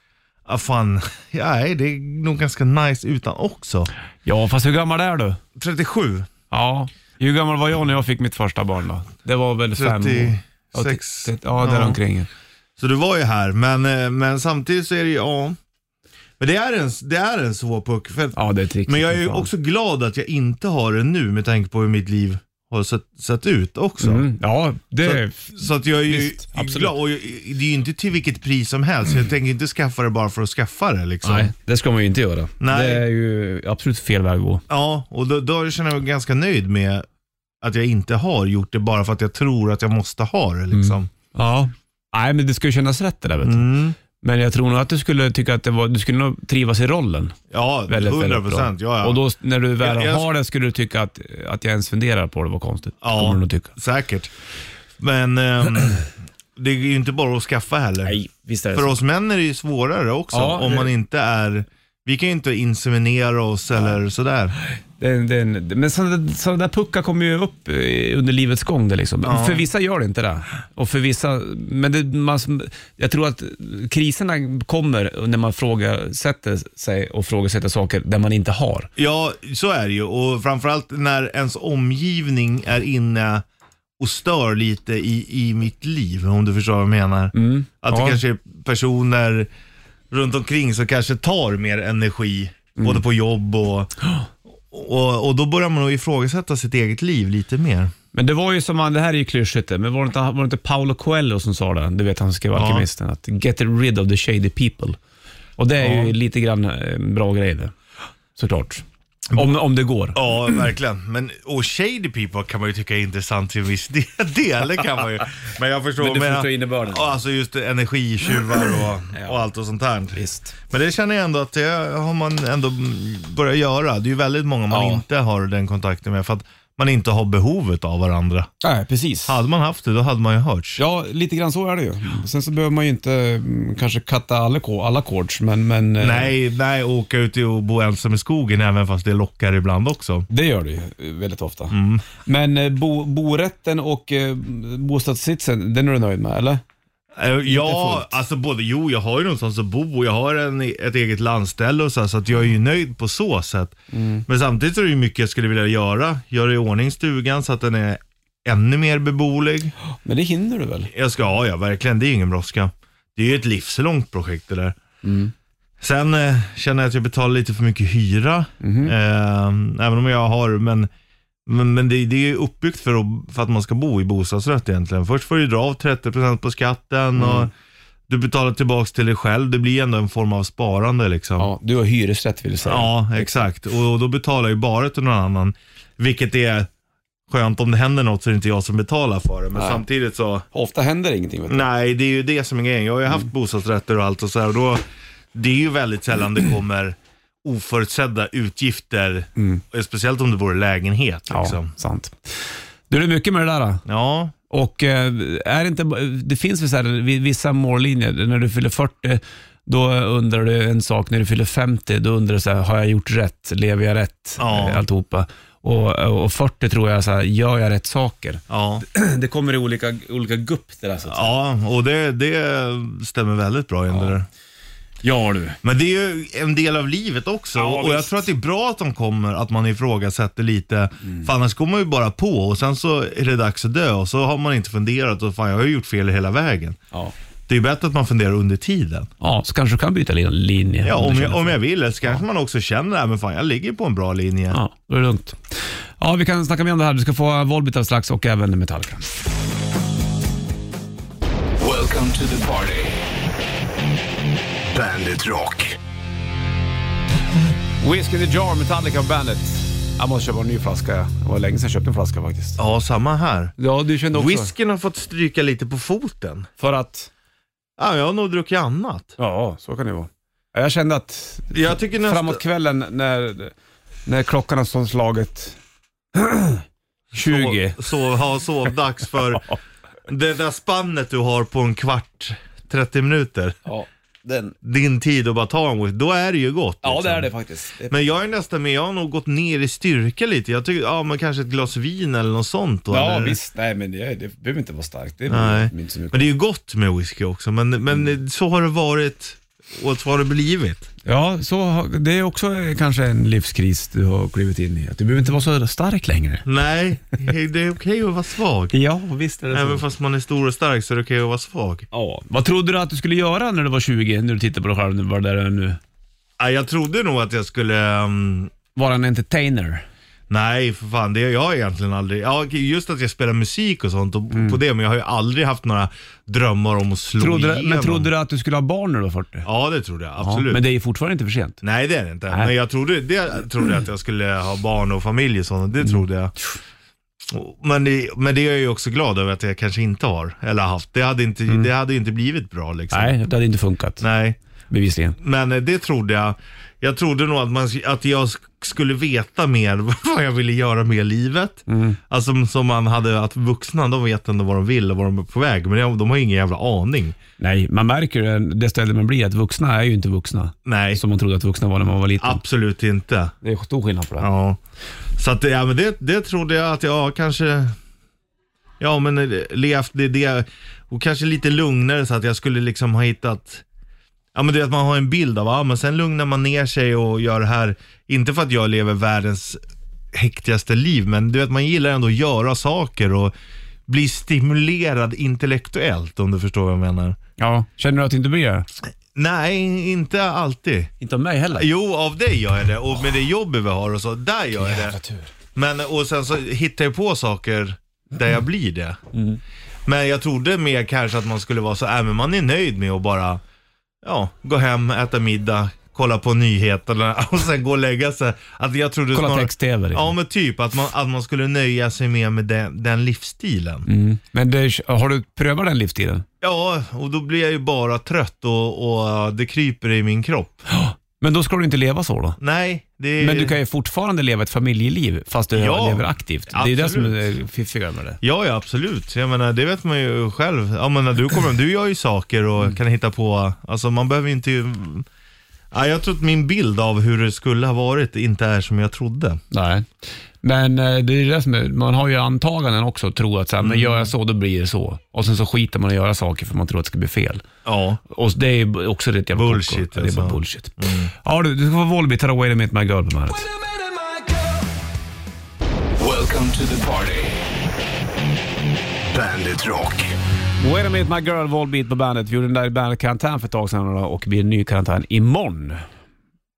Speaker 3: ah, fan, nej, det är nog ganska nice utan också.
Speaker 2: Ja, fast hur gammal är du?
Speaker 3: 37,
Speaker 2: Ja. Hur gammal var jag när jag fick mitt första barn då? Det var väl fem år? Ja,
Speaker 3: 36.
Speaker 2: t- t- Ja, däromkring.
Speaker 3: Så du var ju här, men, eh, men samtidigt så är det ju, ja. Men det är en, det är en svår puck. För att,
Speaker 2: Ja, det är trixigt.
Speaker 3: men jag är
Speaker 2: som
Speaker 3: ju
Speaker 2: fan.
Speaker 3: också glad att jag inte har det nu med tanke på hur mitt liv har sett, sett ut också.
Speaker 2: Mm, ja, det är...
Speaker 3: Så att jag är ju
Speaker 2: Visst, absolut.
Speaker 3: glad och jag, det är ju inte till vilket pris som helst. Jag tänker inte skaffa det bara för att skaffa det liksom.
Speaker 2: Nej, det ska man ju inte göra.
Speaker 3: Nej.
Speaker 2: Det är ju absolut fel väg att gå.
Speaker 3: Ja, och då, då känner jag mig ganska nöjd med att jag inte har gjort det bara för att jag tror att jag måste ha
Speaker 2: Mm.
Speaker 3: det liksom.
Speaker 2: Ja. Nej, men det ska ju kännas rätt det där vet du.
Speaker 3: Mm.
Speaker 2: Men jag tror nog att du skulle tycka att det var, du skulle nog trivas i rollen.
Speaker 3: Ja,
Speaker 2: Väldigt,
Speaker 3: 100
Speaker 2: väldigt bra.
Speaker 3: procent. Ja, ja.
Speaker 2: Och då när du väl
Speaker 3: Jag- jag-
Speaker 2: har det skulle du tycka att, att jag ens funderar på det var konstigt.
Speaker 3: Ja.
Speaker 2: Kommer du nog tycka.
Speaker 3: Säkert. Men ehm, det är ju inte bara att skaffa heller.
Speaker 2: visst är
Speaker 3: För oss män är det ju svårare också
Speaker 2: Ja,
Speaker 3: om
Speaker 2: det-
Speaker 3: man inte är vi kan ju inte inseminera oss eller sådär.
Speaker 2: Det, är en- det, är en- men sådana så där puckar kommer ju upp eh, under livets gång. Det liksom. För vissa gör det inte det. Och för vissa, men det, man, jag tror att kriserna kommer när man frågasätter sig och frågasätter saker där man inte har.
Speaker 3: Ja, så är det ju. Och framförallt när ens omgivning är inne och stör lite i, i mitt liv, om du förstår vad jag menar. Att
Speaker 2: Ja.
Speaker 3: det kanske är personer runt omkring som kanske tar mer energi, både på jobb och, och... Och då börjar man nog ifrågasätta sitt eget liv lite mer.
Speaker 2: Men det var ju som han, det här är ju klyschigt det, men var det, inte, var det inte Paolo Coelho som sa det? Du vet han som skrev Alkemisten, att get rid of the shady people. Och det är ju lite grann eh, bra grej det, såklart. Om, om det går.
Speaker 3: Ja, verkligen. Men, och shady people kan man ju tycka är intressant till en viss del. Det kan man ju. Men jag förstår.
Speaker 2: Men du
Speaker 3: vad jag
Speaker 2: förstår
Speaker 3: menar.
Speaker 2: innebörden.
Speaker 3: Ja, alltså just energitjuvar och, och allt och sånt här.
Speaker 2: Visst.
Speaker 3: Men det känner jag ändå att det har man ändå börjat göra. Det är ju väldigt många man
Speaker 2: Ja.
Speaker 3: inte har den kontakten med för att man inte har behovet av varandra.
Speaker 2: Nej, precis.
Speaker 3: Hade man haft det, då hade man ju hörts.
Speaker 2: Ja, lite grann så är det ju. Sen så behöver man ju inte mm, kanske katta alla, ko- alla korts, men, men eh,
Speaker 3: Nej, nej, åka ut och bo ensam i skogen även fast det lockar ibland också.
Speaker 2: det gör det ju eh, väldigt ofta. Men eh, bo, borätten och eh, bostadssitsen, den är du nöjd med, eller?
Speaker 3: Eh, Ja,
Speaker 2: fullt.
Speaker 3: alltså både, jo jag har ju någonstans att bo och jag har en, ett eget landställe och så, här, så att jag är ju nöjd på så sätt. Men samtidigt så är det ju mycket jag skulle vilja göra. Göra i ordning stugan så att den är ännu mer beboelig.
Speaker 2: Men det hinner du väl?
Speaker 3: Jag ska, ja, ja verkligen. Det är ingen brådska. Det är ju ett livslångt projekt det där. Sen eh, känner jag att jag betalar lite för mycket hyra. Eh, även om jag har, men, men, men det, det är ju uppbyggt för, att, för att man ska bo i bostadsrätt egentligen. Först får du dra av 30% på skatten och du betalar tillbaka till dig själv. Det blir ändå en form av sparande liksom.
Speaker 2: Ja, du har hyresrätt vill du säga.
Speaker 3: Ja, exakt. Och, och då betalar ju bara till någon annan. Vilket är skönt om det händer något så är det inte jag som betalar för det. Men samtidigt så
Speaker 2: Ofta händer ingenting. Vet du.
Speaker 3: Nej, det är ju det som är grejen. Jag har ju haft bostadsrätter och allt och så här. Och då, det är ju väldigt sällan det kommer oförutsedda utgifter. eh, Speciellt om det vore lägenhet. Liksom.
Speaker 2: sant. Du, det är mycket med det där. då.
Speaker 3: Ja.
Speaker 2: Och eh, är det, inte, det finns väl så här, vi- vissa mållinjer. När du fyller 40, då undrar du en sak. När du fyller 50, då undrar du så här, har jag gjort rätt? Lever jag rätt?
Speaker 3: Ja.
Speaker 2: Eh, Alltihopa. Och, och 40 tror jag, så här, gör jag rätt saker?
Speaker 3: Ja,
Speaker 2: Det kommer i olika, olika gupp det där. Så att säga.
Speaker 3: ja och det, det stämmer väldigt bra in det där.
Speaker 2: Ja du.
Speaker 3: Men det är ju en del av livet också.
Speaker 2: Ja,
Speaker 3: och jag
Speaker 2: visst.
Speaker 3: tror att det är bra att de kommer, att man ifrågasätter lite. För annars går man ju bara på och sen så är det dags att dö och så har man inte funderat och fan jag har ju gjort fel hela vägen.
Speaker 2: Ja.
Speaker 3: Det är ju bättre att man funderar under tiden.
Speaker 2: ja, så kanske du kan byta lin- linje.
Speaker 3: Ja,
Speaker 2: du
Speaker 3: om jag,
Speaker 2: känner
Speaker 3: om
Speaker 2: för.
Speaker 3: jag vill. Så kanske man också känner att men fan jag ligger på en bra linje.
Speaker 2: Ja, då är det lugnt. Ja, vi kan snacka mer om det här. Du ska få Volbit alldeles strax och även Metallica.
Speaker 1: Welcome to the party. Bandit Rock.
Speaker 2: Whiskey in the Jar, Metallica och Bandet. Jag måste köpa en ny flaska. Det var länge sedan jag köpte en flaska faktiskt.
Speaker 3: Ja, samma här.
Speaker 2: Ja, du kände också.
Speaker 3: Whiskyn har fått stryka lite på foten.
Speaker 2: För att...
Speaker 3: Ja, jag har nog druckit annat.
Speaker 2: Ja, så kan det vara. Jag kände att
Speaker 3: Jag tycker nästan...
Speaker 2: framåt kvällen när, när klockan har som slagit 20.
Speaker 3: Sov, sov, ha sovdags för det där spannet du har på en kvart, 30 minuter.
Speaker 2: Ja, den.
Speaker 3: Din tid att bara ta en whisky, då är det ju gott. liksom.
Speaker 2: faktiskt.
Speaker 3: Men jag är nästan med, jag har nog gått ner i styrka lite. Jag tycker, ja men kanske ett glas vin eller något sånt då.
Speaker 2: Ja,
Speaker 3: eller?
Speaker 2: visst. Nej, men det, det behöver inte vara starkt. Det
Speaker 3: Nej.
Speaker 2: behöver Mm, inte så mycket. Mm.
Speaker 3: Men det är ju gott med whisky också, men, men så har det varit och så har det blivit.
Speaker 2: Ja, så, har- det är också eh, kanske en livskris du har klivit in i. Att Du behöver inte vara så stark längre.
Speaker 3: Nej, det är okej att vara svag.
Speaker 2: Ja, visst är
Speaker 3: Även fast man är stor och stark så är det okej att vara svag.
Speaker 2: Ja. Vad trodde du att du skulle göra när du var 20, när du tittar på dig själv, när du var där du är nu?
Speaker 3: Ja, Jag trodde nog att jag skulle ehm,
Speaker 2: Vara en entertainer?
Speaker 3: Nej, för fan. Det har jag egentligen aldrig. Ja, just att jag spelar musik och sånt och på det, men jag har ju aldrig haft några drömmar om att slå
Speaker 2: Mm. Trodde du,
Speaker 3: igenom.
Speaker 2: men trodde du att du skulle ha barn när du var 40?
Speaker 3: Ja, det trodde jag.
Speaker 2: Ja,
Speaker 3: Absolut.
Speaker 2: Men det är fortfarande inte för sent.
Speaker 3: Nej, det är det inte.
Speaker 2: Nej.
Speaker 3: Men jag trodde, det trodde jag att jag skulle ha barn och familj och sånt.
Speaker 2: Mm.
Speaker 3: Det trodde jag. Och- Men det, men det är jag ju också glad över att jag kanske inte har, eller haft. Det hade inte, det hade ju inte blivit bra liksom.
Speaker 2: Mm. Nej, det hade inte funkat.
Speaker 3: Nej.
Speaker 2: Bevisligen.
Speaker 3: Men eh, det trodde jag. Jag trodde nog att, man, att jag sk- skulle veta mer vad jag ville göra med livet.
Speaker 2: Mm.
Speaker 3: Alltså som man hade, att vuxna de vet ändå vad de vill och vad de är på väg. Men de, de har ingen jävla aning.
Speaker 2: Nej, man märker ju det stället man blir att vuxna är ju inte vuxna.
Speaker 3: Nej,
Speaker 2: Som man trodde att vuxna var när man var liten.
Speaker 3: absolut inte.
Speaker 2: Det är stor skillnad på det.
Speaker 3: Ja. Så att, ja, men det, det trodde jag att jag kanske, ja men eh, levt det, det och kanske lite lugnare så att jag skulle liksom ha hittat Ja men du vet man har en bild av, ja men sen lugnar man ner sig och gör det här, inte för att jag lever världens hektigaste liv, men du vet man gillar ändå att göra saker och bli stimulerad intellektuellt om du förstår vad jag menar.
Speaker 2: Ja. Känner du att det inte blir det?
Speaker 3: Nej, inte alltid.
Speaker 2: Inte av mig heller.
Speaker 3: Jo, av dig gör jag det och med det jobbet vi har och så, där gör jag det. Men och sen så hittar jag på saker där jag blir det.
Speaker 2: Mm.
Speaker 3: Men jag trodde mer kanske att man skulle vara så, äh, men man är nöjd med att bara, ja, gå hem, äta middag, kolla på nyheterna och sen gå och lägga sig. Att jag trodde
Speaker 2: Kolla
Speaker 3: snarare-
Speaker 2: text-tv. liksom.
Speaker 3: Ja men typ, att man, att man skulle nöja sig mer med den, den livsstilen.
Speaker 2: Mm. Men det, har du prövat den livsstilen?
Speaker 3: Ja, och då blir jag ju bara trött och, och det kryper i min kropp.
Speaker 2: Men då ska du inte leva så då?
Speaker 3: Nej, det
Speaker 2: Men du kan ju fortfarande leva ett familjeliv fast du
Speaker 3: Ja,
Speaker 2: lever aktivt. Det är det som är det fiffiga med det.
Speaker 3: Ja, ja absolut. Jag menar, det vet man ju själv. Jag menar, du, kommer, du gör ju saker och
Speaker 2: Mm.
Speaker 3: kan hitta på, alltså man behöver ju inte... Ja, jag tror att min bild av hur det skulle ha varit inte är som jag trodde.
Speaker 2: Nej. Men eh, det är det som är, man har ju antaganden också och tror att så här,
Speaker 3: Mm.
Speaker 2: men gör jag så, då blir det så. Och sen så skiter man i att göra saker för man tror att det ska bli fel.
Speaker 3: Ja.
Speaker 2: Och det är ju också rätt jävla
Speaker 3: Bullshit,
Speaker 2: koko. Ja, Det är bara
Speaker 3: alltså.
Speaker 2: bullshit. Ja du, du ska få Volbeat här och Wait a minute my girl på bandet.
Speaker 1: Welcome to the party. Bandit Rock.
Speaker 2: Wait a minute my girl, Volbeat på bandet. Vi gjorde den där i bandkarantän för ett tag sedan och det blir en ny karantän imorgon.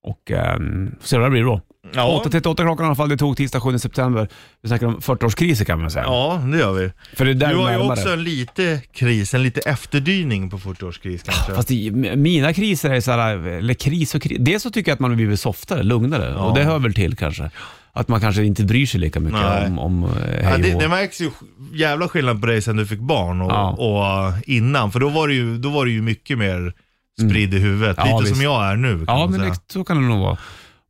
Speaker 2: Och um, får se vad det blir då.
Speaker 3: Ja.
Speaker 2: 8 till 8 klockan i alla fall. Det tog tisdag 7 september. Vi snackar om 40-årskriser kan man säga.
Speaker 3: ja, det gör vi.
Speaker 2: För det är där
Speaker 3: Du
Speaker 2: vi
Speaker 3: har ju
Speaker 2: närmar
Speaker 3: också
Speaker 2: det.
Speaker 3: en lite kris, en lite efterdyning på 40-årskris kanske.
Speaker 2: Fast i, m- mina kriser är så här, eller kris och kris. Dels så tycker jag att man har blivit softare, lugnare och det hör väl till kanske. Att man kanske inte bryr sig lika mycket
Speaker 3: Nej.
Speaker 2: om, om eh, hej
Speaker 3: Ja, det,
Speaker 2: och-
Speaker 3: det märks ju jävla skillnad på dig sen du fick barn och,
Speaker 2: Ja.
Speaker 3: och eh, innan. För då var, det ju, då var det ju mycket mer spridd i huvudet.
Speaker 2: Mm. Ja,
Speaker 3: Lite
Speaker 2: visst.
Speaker 3: som jag är nu kan
Speaker 2: Ja,
Speaker 3: man
Speaker 2: men
Speaker 3: säga.
Speaker 2: det, så kan det nog vara.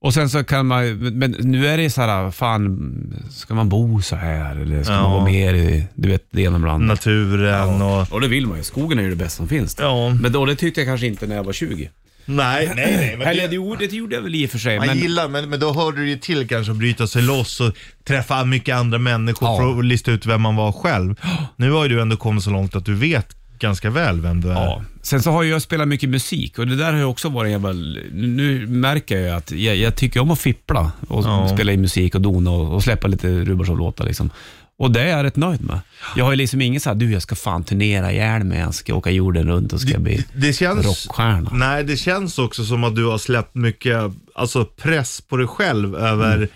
Speaker 2: Och sen så kan man ju- men nu är det så här, fan, ska man bo så här eller ska man
Speaker 3: Ja.
Speaker 2: vara mer i, du vet, det ena med det andra?
Speaker 3: Naturen och...
Speaker 2: Och det vill man ju. Skogen är ju det bästa som finns.
Speaker 3: Ja.
Speaker 2: Men då, det tyckte jag kanske inte när jag var 20.
Speaker 3: Nej, nej, nej. Men
Speaker 2: Eller
Speaker 3: det,
Speaker 2: det, gjorde- det gjorde jag väl i och för sig.
Speaker 3: man
Speaker 2: Men,
Speaker 3: gillar, men, men då hörde det ju till kanske att bryta sig loss och träffa mycket andra människor
Speaker 2: Ja.
Speaker 3: för att lista ut vem man var själv. Nu har ju du ändå kommit så långt att du vet ganska väl vem du är.
Speaker 2: Ja. Sen så har ju jag spelat mycket musik och det där har ju också varit en jävla... Nu märker jag ju att jag, jag tycker om att fippla och
Speaker 3: Ja.
Speaker 2: spela in musik och dona och, och släppa lite Rubarsson-låtar liksom. Och det är jag rätt nöjd med. Jag har ju liksom ingen så här, du jag ska fan turnera ihjäl mig, jag ska åka jorden runt och ska bli...
Speaker 3: Det känns,
Speaker 2: Rockstjärna.
Speaker 3: Nej, det känns också som att du har släppt mycket alltså, press på dig själv över
Speaker 2: Mm.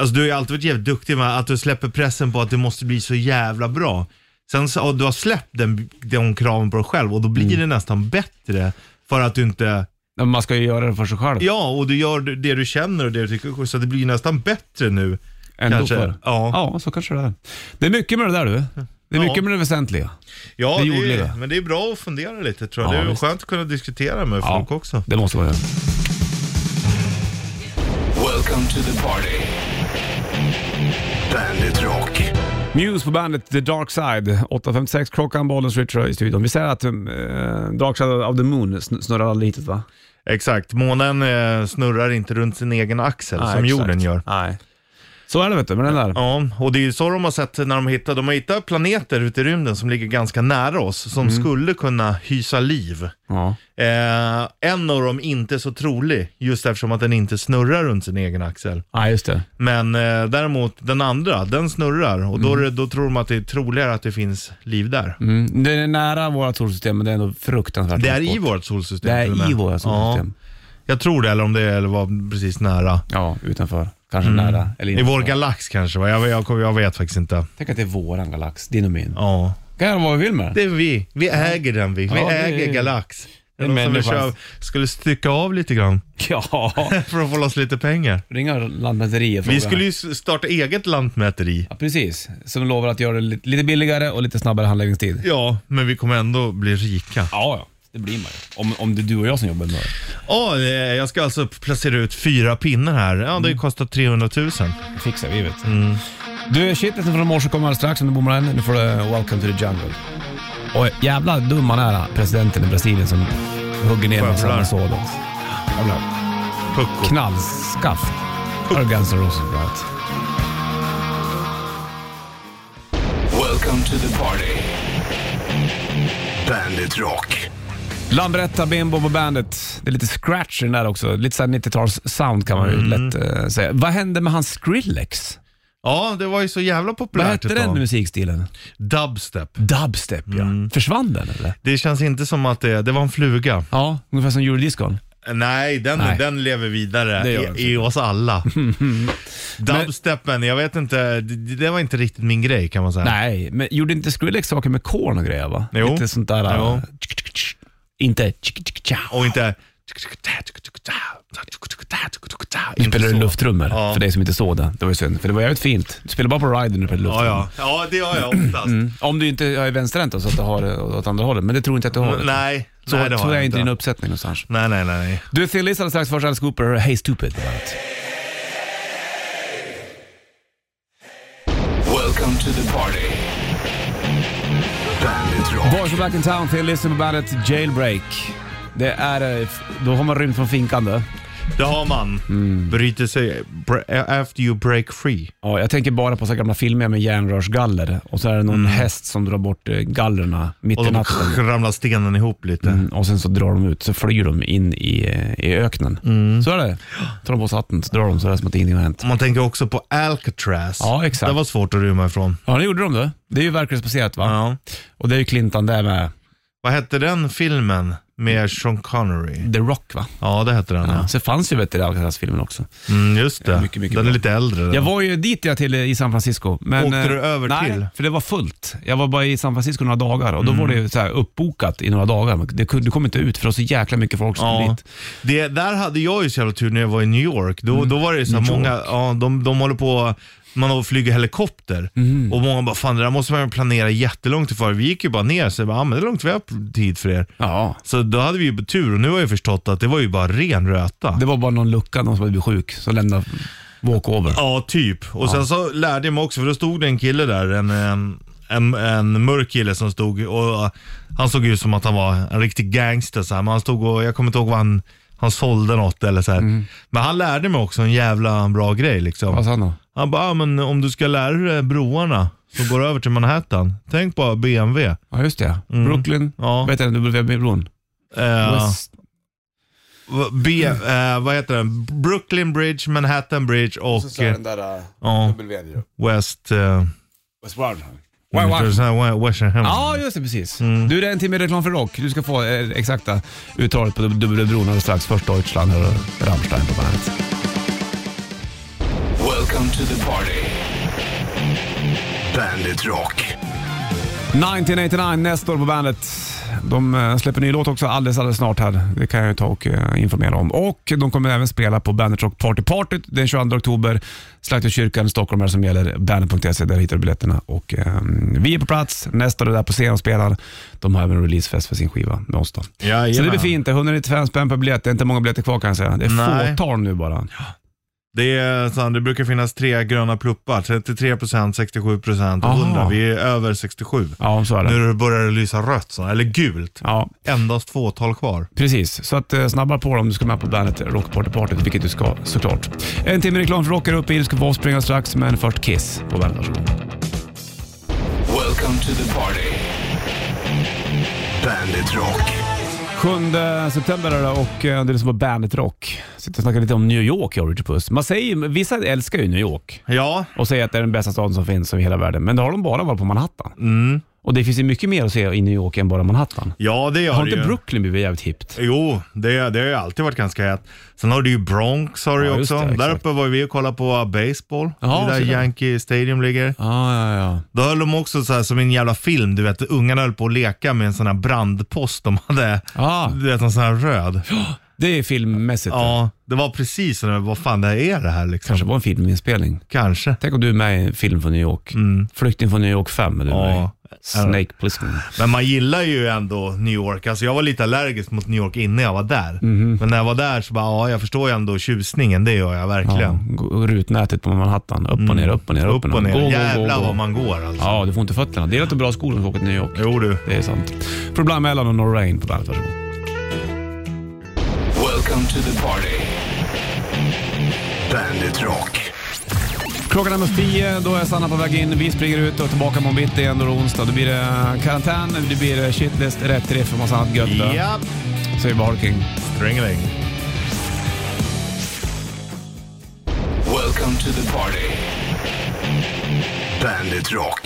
Speaker 3: Alltså du har ju alltid varit jävligt duktig med att du släpper pressen på att det måste bli så jävla bra. Sen så, och du har släppt den, de kraven på dig själv och då
Speaker 2: Mm.
Speaker 3: blir det nästan bättre för att du inte
Speaker 2: Men Man ska ju göra det för sig själv.
Speaker 3: Ja, och du gör det du känner och det du tycker är schysst, så det blir ju nästan bättre nu.
Speaker 2: Ändå
Speaker 3: kanske.
Speaker 2: för.
Speaker 3: Ja.
Speaker 2: ja, så kanske det är. Det är mycket med det där du. Det är
Speaker 3: Ja.
Speaker 2: mycket med det väsentliga.
Speaker 3: Ja,
Speaker 2: Det
Speaker 3: det
Speaker 2: gjorde
Speaker 3: är,
Speaker 2: det.
Speaker 3: men det är bra att fundera lite tror jag.
Speaker 2: Ja,
Speaker 3: det är
Speaker 2: visst.
Speaker 3: skönt att kunna diskutera med folk också.
Speaker 2: det måste man göra.
Speaker 1: Welcome to the party. Bandit Rock.
Speaker 2: Muse på bandet The Dark Side. 8.56 klockan, Bollens Richard i studion. Vi säger att eh, Dark Side of the Moon sn- snurrar lite va?
Speaker 3: Exakt, månen eh, snurrar inte runt sin egen axel
Speaker 2: Nej,
Speaker 3: som
Speaker 2: exakt.
Speaker 3: jorden gör.
Speaker 2: Nej. Så är det vet du, med den där.
Speaker 3: Ja, och det är ju så de har sett när de hittar, de har hittat planeter ute i rymden som ligger ganska nära oss, som
Speaker 2: Mm.
Speaker 3: skulle kunna hysa liv.
Speaker 2: Ja.
Speaker 3: Eh, en av dem inte så trolig, just eftersom att den inte snurrar runt sin egen axel.
Speaker 2: ja, just det.
Speaker 3: Men eh, däremot den andra, den snurrar och då, är det, då tror de att det är troligare att det finns liv där.
Speaker 2: Mm. Det är nära vårt solsystem, men det är ändå fruktansvärt
Speaker 3: Det är
Speaker 2: långt
Speaker 3: i
Speaker 2: bort.
Speaker 3: vårt solsystem.
Speaker 2: Det är
Speaker 3: till och med.
Speaker 2: i vårt solsystem.
Speaker 3: Ja, jag tror det, eller om det är, eller var precis nära.
Speaker 2: Ja, utanför. Kanske nära. Eller
Speaker 3: Mm. I
Speaker 2: inte.
Speaker 3: vår galax kanske, va? Jag, jag, jag vet faktiskt inte.
Speaker 2: Tänk att det är våran galax, din och min.
Speaker 3: Ja.
Speaker 2: Kan göra vad vi vill med den.
Speaker 3: Det är vi. Vi äger den vi. Vi
Speaker 2: Ja, det är-
Speaker 3: äger Galax. Det
Speaker 2: är
Speaker 3: är någon som vill
Speaker 2: människans.
Speaker 3: köpa- skulle stycka av lite grann
Speaker 2: Ja,
Speaker 3: för att få loss lite pengar.
Speaker 2: ringa Lantmäteriet och
Speaker 3: Vi
Speaker 2: fråga.
Speaker 3: skulle ju s- starta eget lantmäteri.
Speaker 2: Ja, precis. Som lovar att göra det lite lite billigare och lite snabbare handläggningstid.
Speaker 3: Ja, men vi kommer ändå bli rika.
Speaker 2: Ja, ja. Det blir man ju. Om, om det är du och jag som jobbar med det.
Speaker 3: Ja, eh, jag ska alltså placera ut fyra pinnar här. Ja, det kostar 300 000.
Speaker 2: Det fixar vi vet Mm. Du, shitlisten från morse kommer alldeles strax om du bommar den. Nu får du eh, Welcome to the Jungle. Och jävla dum han är, eh, presidenten i Brasilien som hugger ner massa
Speaker 3: Skövlar.
Speaker 2: med sådant. Jävla
Speaker 3: Pucko.
Speaker 2: knallskaft. Har du Guns N' Roses på allt.
Speaker 1: Welcome to the party. Bandit Rock.
Speaker 2: Lambretta, Bimbo på bandet. Det är lite scratch i den där också. Lite såhär 90-tals sound kan man ju lätt eh, säga. Vad hände med hans Skrillex?
Speaker 3: Ja, det var ju så jävla
Speaker 2: Vad
Speaker 3: populärt
Speaker 2: hette
Speaker 3: ett
Speaker 2: den
Speaker 3: tag.
Speaker 2: musikstilen?
Speaker 3: Dubstep.
Speaker 2: Dubstep ja. Försvann den eller?
Speaker 3: Det känns inte som att det, det var en fluga.
Speaker 2: Ja, ungefär som eurodiscon.
Speaker 3: Nej, den,
Speaker 2: Nej.
Speaker 3: den lever
Speaker 2: Det
Speaker 3: vidare
Speaker 2: gör den
Speaker 3: i, i oss alla. Dubstepen, jag vet inte, det, det var inte riktigt min grej kan man säga.
Speaker 2: Nej, men gjorde inte Skrillex saker med korn och grejer va?
Speaker 3: Jo.
Speaker 2: Lite sånt där...
Speaker 3: Jo.
Speaker 2: äh, tsk, tsk, tsk. Inte... tsk, tsk, tja.
Speaker 3: Och inte...
Speaker 2: Du spelade
Speaker 3: Inte så.
Speaker 2: lufttrummor,
Speaker 3: Ja.
Speaker 2: för dig som inte såg det. Det var ju synd, för det var jävligt fint. Du spelade bara på Ryder när du spelade
Speaker 3: Ja,
Speaker 2: lufttrummor.
Speaker 3: ja. ja, det gör jag oftast.
Speaker 2: Om du inte är vänsterhänt då, så att du har det åt andra hållet, men det tror inte att du har. det.
Speaker 3: Mm, Nej,
Speaker 2: så
Speaker 3: nej det
Speaker 2: tror
Speaker 3: har
Speaker 2: jag
Speaker 3: jag
Speaker 2: inte
Speaker 3: inte.
Speaker 2: i din uppsättning någonstans.
Speaker 3: Nej, nej, nej. nej.
Speaker 2: Du, Thin Lizzy alldeles strax. Först Alice Cooper, Hey Stupid. på bandet.
Speaker 1: Welcome to the party. Bandit Rock.
Speaker 2: Boys are back in town, Thin Lizzy på bandet Jailbreak. Det är... eh, f- Då har man rymt från finkan du.
Speaker 3: Det har man.
Speaker 2: Mm.
Speaker 3: Bryter sig br- after you break free.
Speaker 2: Ja, jag tänker bara på så här gamla filmer med järnrörsgaller och så är det någon häst som drar bort eh, gallerna mitt
Speaker 3: Mm. Och
Speaker 2: i
Speaker 3: de
Speaker 2: natten.
Speaker 3: ramlar stenen ihop lite.
Speaker 2: Mm, Och sen så drar de ut, så flyr de in i, eh, i öknen.
Speaker 3: Mm.
Speaker 2: Så är det. Tar de på sig hatten, så drar de så är det som att ingenting har hänt.
Speaker 3: Man tänker också på Alcatraz.
Speaker 2: Ja, exakt.
Speaker 3: Mm. Det var svårt att rymma ifrån.
Speaker 2: Ja, det gjorde de det. Det är ju verklighetsbaserat va?
Speaker 3: Ja.
Speaker 2: Och det är ju Clinton där med
Speaker 3: Vad hette den filmen med Sean Connery?
Speaker 2: The Rock va?
Speaker 3: Ja, det hette den. Ja.
Speaker 2: Så det fanns ju vet du, i Alcatraz-filmen också.
Speaker 3: Mm, just det.
Speaker 2: Mycket, mycket
Speaker 3: den är
Speaker 2: bra.
Speaker 3: lite äldre. den.
Speaker 2: Jag var ju dit jag till eh, i San Francisco. Men,
Speaker 3: Åkte
Speaker 2: eh,
Speaker 3: du över
Speaker 2: nej,
Speaker 3: till? Mm.
Speaker 2: för det var fullt. Jag var bara i San Francisco några dagar och då var det ju så här uppbokat i några dagar. Men Det, kunde- du kom inte ut för det var så jäkla mycket folk som kom
Speaker 3: Ja.
Speaker 2: dit.
Speaker 3: Det, där hade jag ju så jävla tur när jag var i New York. Då, då var det ju så här,
Speaker 2: Mm. New
Speaker 3: många, ja, de, de håller på, man flyger helikopter.
Speaker 2: Mm.
Speaker 3: Och många bara, fan det där måste man ju planera jättelångt ifrån. Vi gick ju bara ner, så jag bara, ah, men det är långt vi har tid för er.
Speaker 2: Ja.
Speaker 3: Så då hade vi ju tur och nu har jag förstått att det var ju bara ren röta.
Speaker 2: Det var bara någon lucka, någon som hade blivit sjuk, så lämnade walkover.
Speaker 3: Ja, typ. Och sen så lärde jag mig också, för då stod det en kille där, en, en, en, en mörk kille som stod och uh, han såg ut som att han var en riktig gangster så här, men han stod och, jag kommer inte ihåg vad
Speaker 2: Mm.
Speaker 3: han, han sålde något eller så här. Men han lärde mig också en jävla bra grej liksom.
Speaker 2: Vad sa han då?
Speaker 3: Han bara, ah, men om du ska lära dig broarna så går du över till Manhattan. Tänk bara BMW.
Speaker 2: Ja, just det. Brooklyn.
Speaker 3: Mm. Ja.
Speaker 2: Vad heter den? W-bron?
Speaker 3: Eh,
Speaker 2: West-
Speaker 3: v- B, eh, vad heter den? Brooklyn Bridge, Manhattan Bridge och eh,
Speaker 7: där uh,
Speaker 3: ja,
Speaker 7: WN ju.
Speaker 3: West... Eh,
Speaker 7: West Brown.
Speaker 2: Why, why?
Speaker 3: West, West,
Speaker 2: Ja, just det. Precis.
Speaker 3: Mm.
Speaker 2: Du, det är en timme reklam för rock. Du ska få eh, exakta uttalet på W-bron alldeles strax. Först Deutschland och Rammstein på bandet.
Speaker 1: Welcome to the party. Bandit Rock.
Speaker 2: 1989 nästa år på bandet. De eh, släpper ny låt också alldeles, alldeles snart här. Det kan jag ju ta och eh, informera om. Och de kommer även spela på Bandet Rock Party Party den 22 oktober. Slakterkyrkan Stockholm är det som gäller. Bandet.se, där hittar du biljetterna. Och, eh, vi är på plats. Nästa år är där på scen och spelar. De har även releasefest för sin skiva med oss då.
Speaker 3: Jajamän.
Speaker 2: Så det blir fint. 195 spänn per biljett. Det är inte många biljetter kvar kan jag säga. Det är
Speaker 3: Nej.
Speaker 2: fåtal nu bara.
Speaker 3: Det, är, så här, det brukar finnas tre gröna pluppar. 33%, 67% och
Speaker 2: Aha.
Speaker 3: 100%. Vi är över 67.
Speaker 2: Ja, så är det.
Speaker 3: Nu börjar det lysa rött, så, här, eller gult.
Speaker 2: Ja,
Speaker 3: Endast fåtal kvar.
Speaker 2: Precis, så att eh, snabba på om du ska med på bandet Rock Party Party, vilket du ska såklart. En timme reklam för rockar upp i, ska få springa strax, men först Kiss på bandet. Varsågod.
Speaker 1: Welcome to the party. Bandit Rock.
Speaker 2: 7 september är det och eh, det är som på bandet Rock. Sitter och snackar lite om New York, jag och Richard Puss. Man säger, ju- vissa älskar ju New York
Speaker 3: Ja,
Speaker 2: och säger att det är den bästa staden som finns i hela världen, men det har de bara varit på Manhattan. Och det finns ju mycket mer att se i New York än bara Manhattan.
Speaker 3: ja det gör
Speaker 2: Har
Speaker 3: det
Speaker 2: inte
Speaker 3: ju.
Speaker 2: Brooklyn blivit jävligt hippt?
Speaker 3: Jo, det, det har ju alltid varit ganska hett. Sen har du ju Bronx har du ju
Speaker 2: Ja, just
Speaker 3: också.
Speaker 2: det,
Speaker 3: Där
Speaker 2: exakt.
Speaker 3: uppe var vi och kollade på uh, baseball.
Speaker 2: Ja,
Speaker 3: det där
Speaker 2: så det.
Speaker 3: Yankee Stadium ligger.
Speaker 2: Ah, ja, ja.
Speaker 3: Då höll de också så här som i en jävla film, du vet. Ungarna höll på att leka med en sån här brandpost de hade.
Speaker 2: Ah.
Speaker 3: Du vet, en sån här röd.
Speaker 2: Det är filmmässigt. Ja.
Speaker 3: Ja, det var precis sådär, vad fan det här är det här liksom.
Speaker 2: Kanske
Speaker 3: Kanske.
Speaker 2: var en filminspelning. Tänk om du är med i en film från New York. Flykting från New York 5 är du med i.
Speaker 3: Mm. Ja.
Speaker 2: Snake Plissken.
Speaker 3: Men man gillar ju ändå New York. Alltså jag var lite allergisk mot New York innan jag var där.
Speaker 2: Mhm.
Speaker 3: Men när jag var där så bara, ja jag förstår ju ändå tjusningen, det gör jag
Speaker 2: Ja,
Speaker 3: verkligen. Mm.
Speaker 2: gå- rutnätet på Manhattan. Upp och ner, upp och ner, upp,
Speaker 3: Upp och ner,
Speaker 2: Gå, gå,
Speaker 3: jävlar
Speaker 2: gå, gå.
Speaker 3: vad man går alltså.
Speaker 2: Ja, du får inte fötterna. Det är rätt bra skor som ska åka till New York.
Speaker 3: Jo du.
Speaker 2: Det är sant. Problem mellan och No Rain på bandet. Varsågod.
Speaker 1: Welcome to the party. Bandit Rock.
Speaker 2: Klockan är nummer 10, då är Sanna på väg in. Vi springer ut och tillbaka imorgon bitti igen, då är det onsdag. Då blir det karantän, det blir shitlist, rätt riff och massa annat gött. Ja.
Speaker 3: Japp,
Speaker 2: Så är det bara Harking.
Speaker 3: stringeling.
Speaker 1: Welcome to the party. Bandit Rock.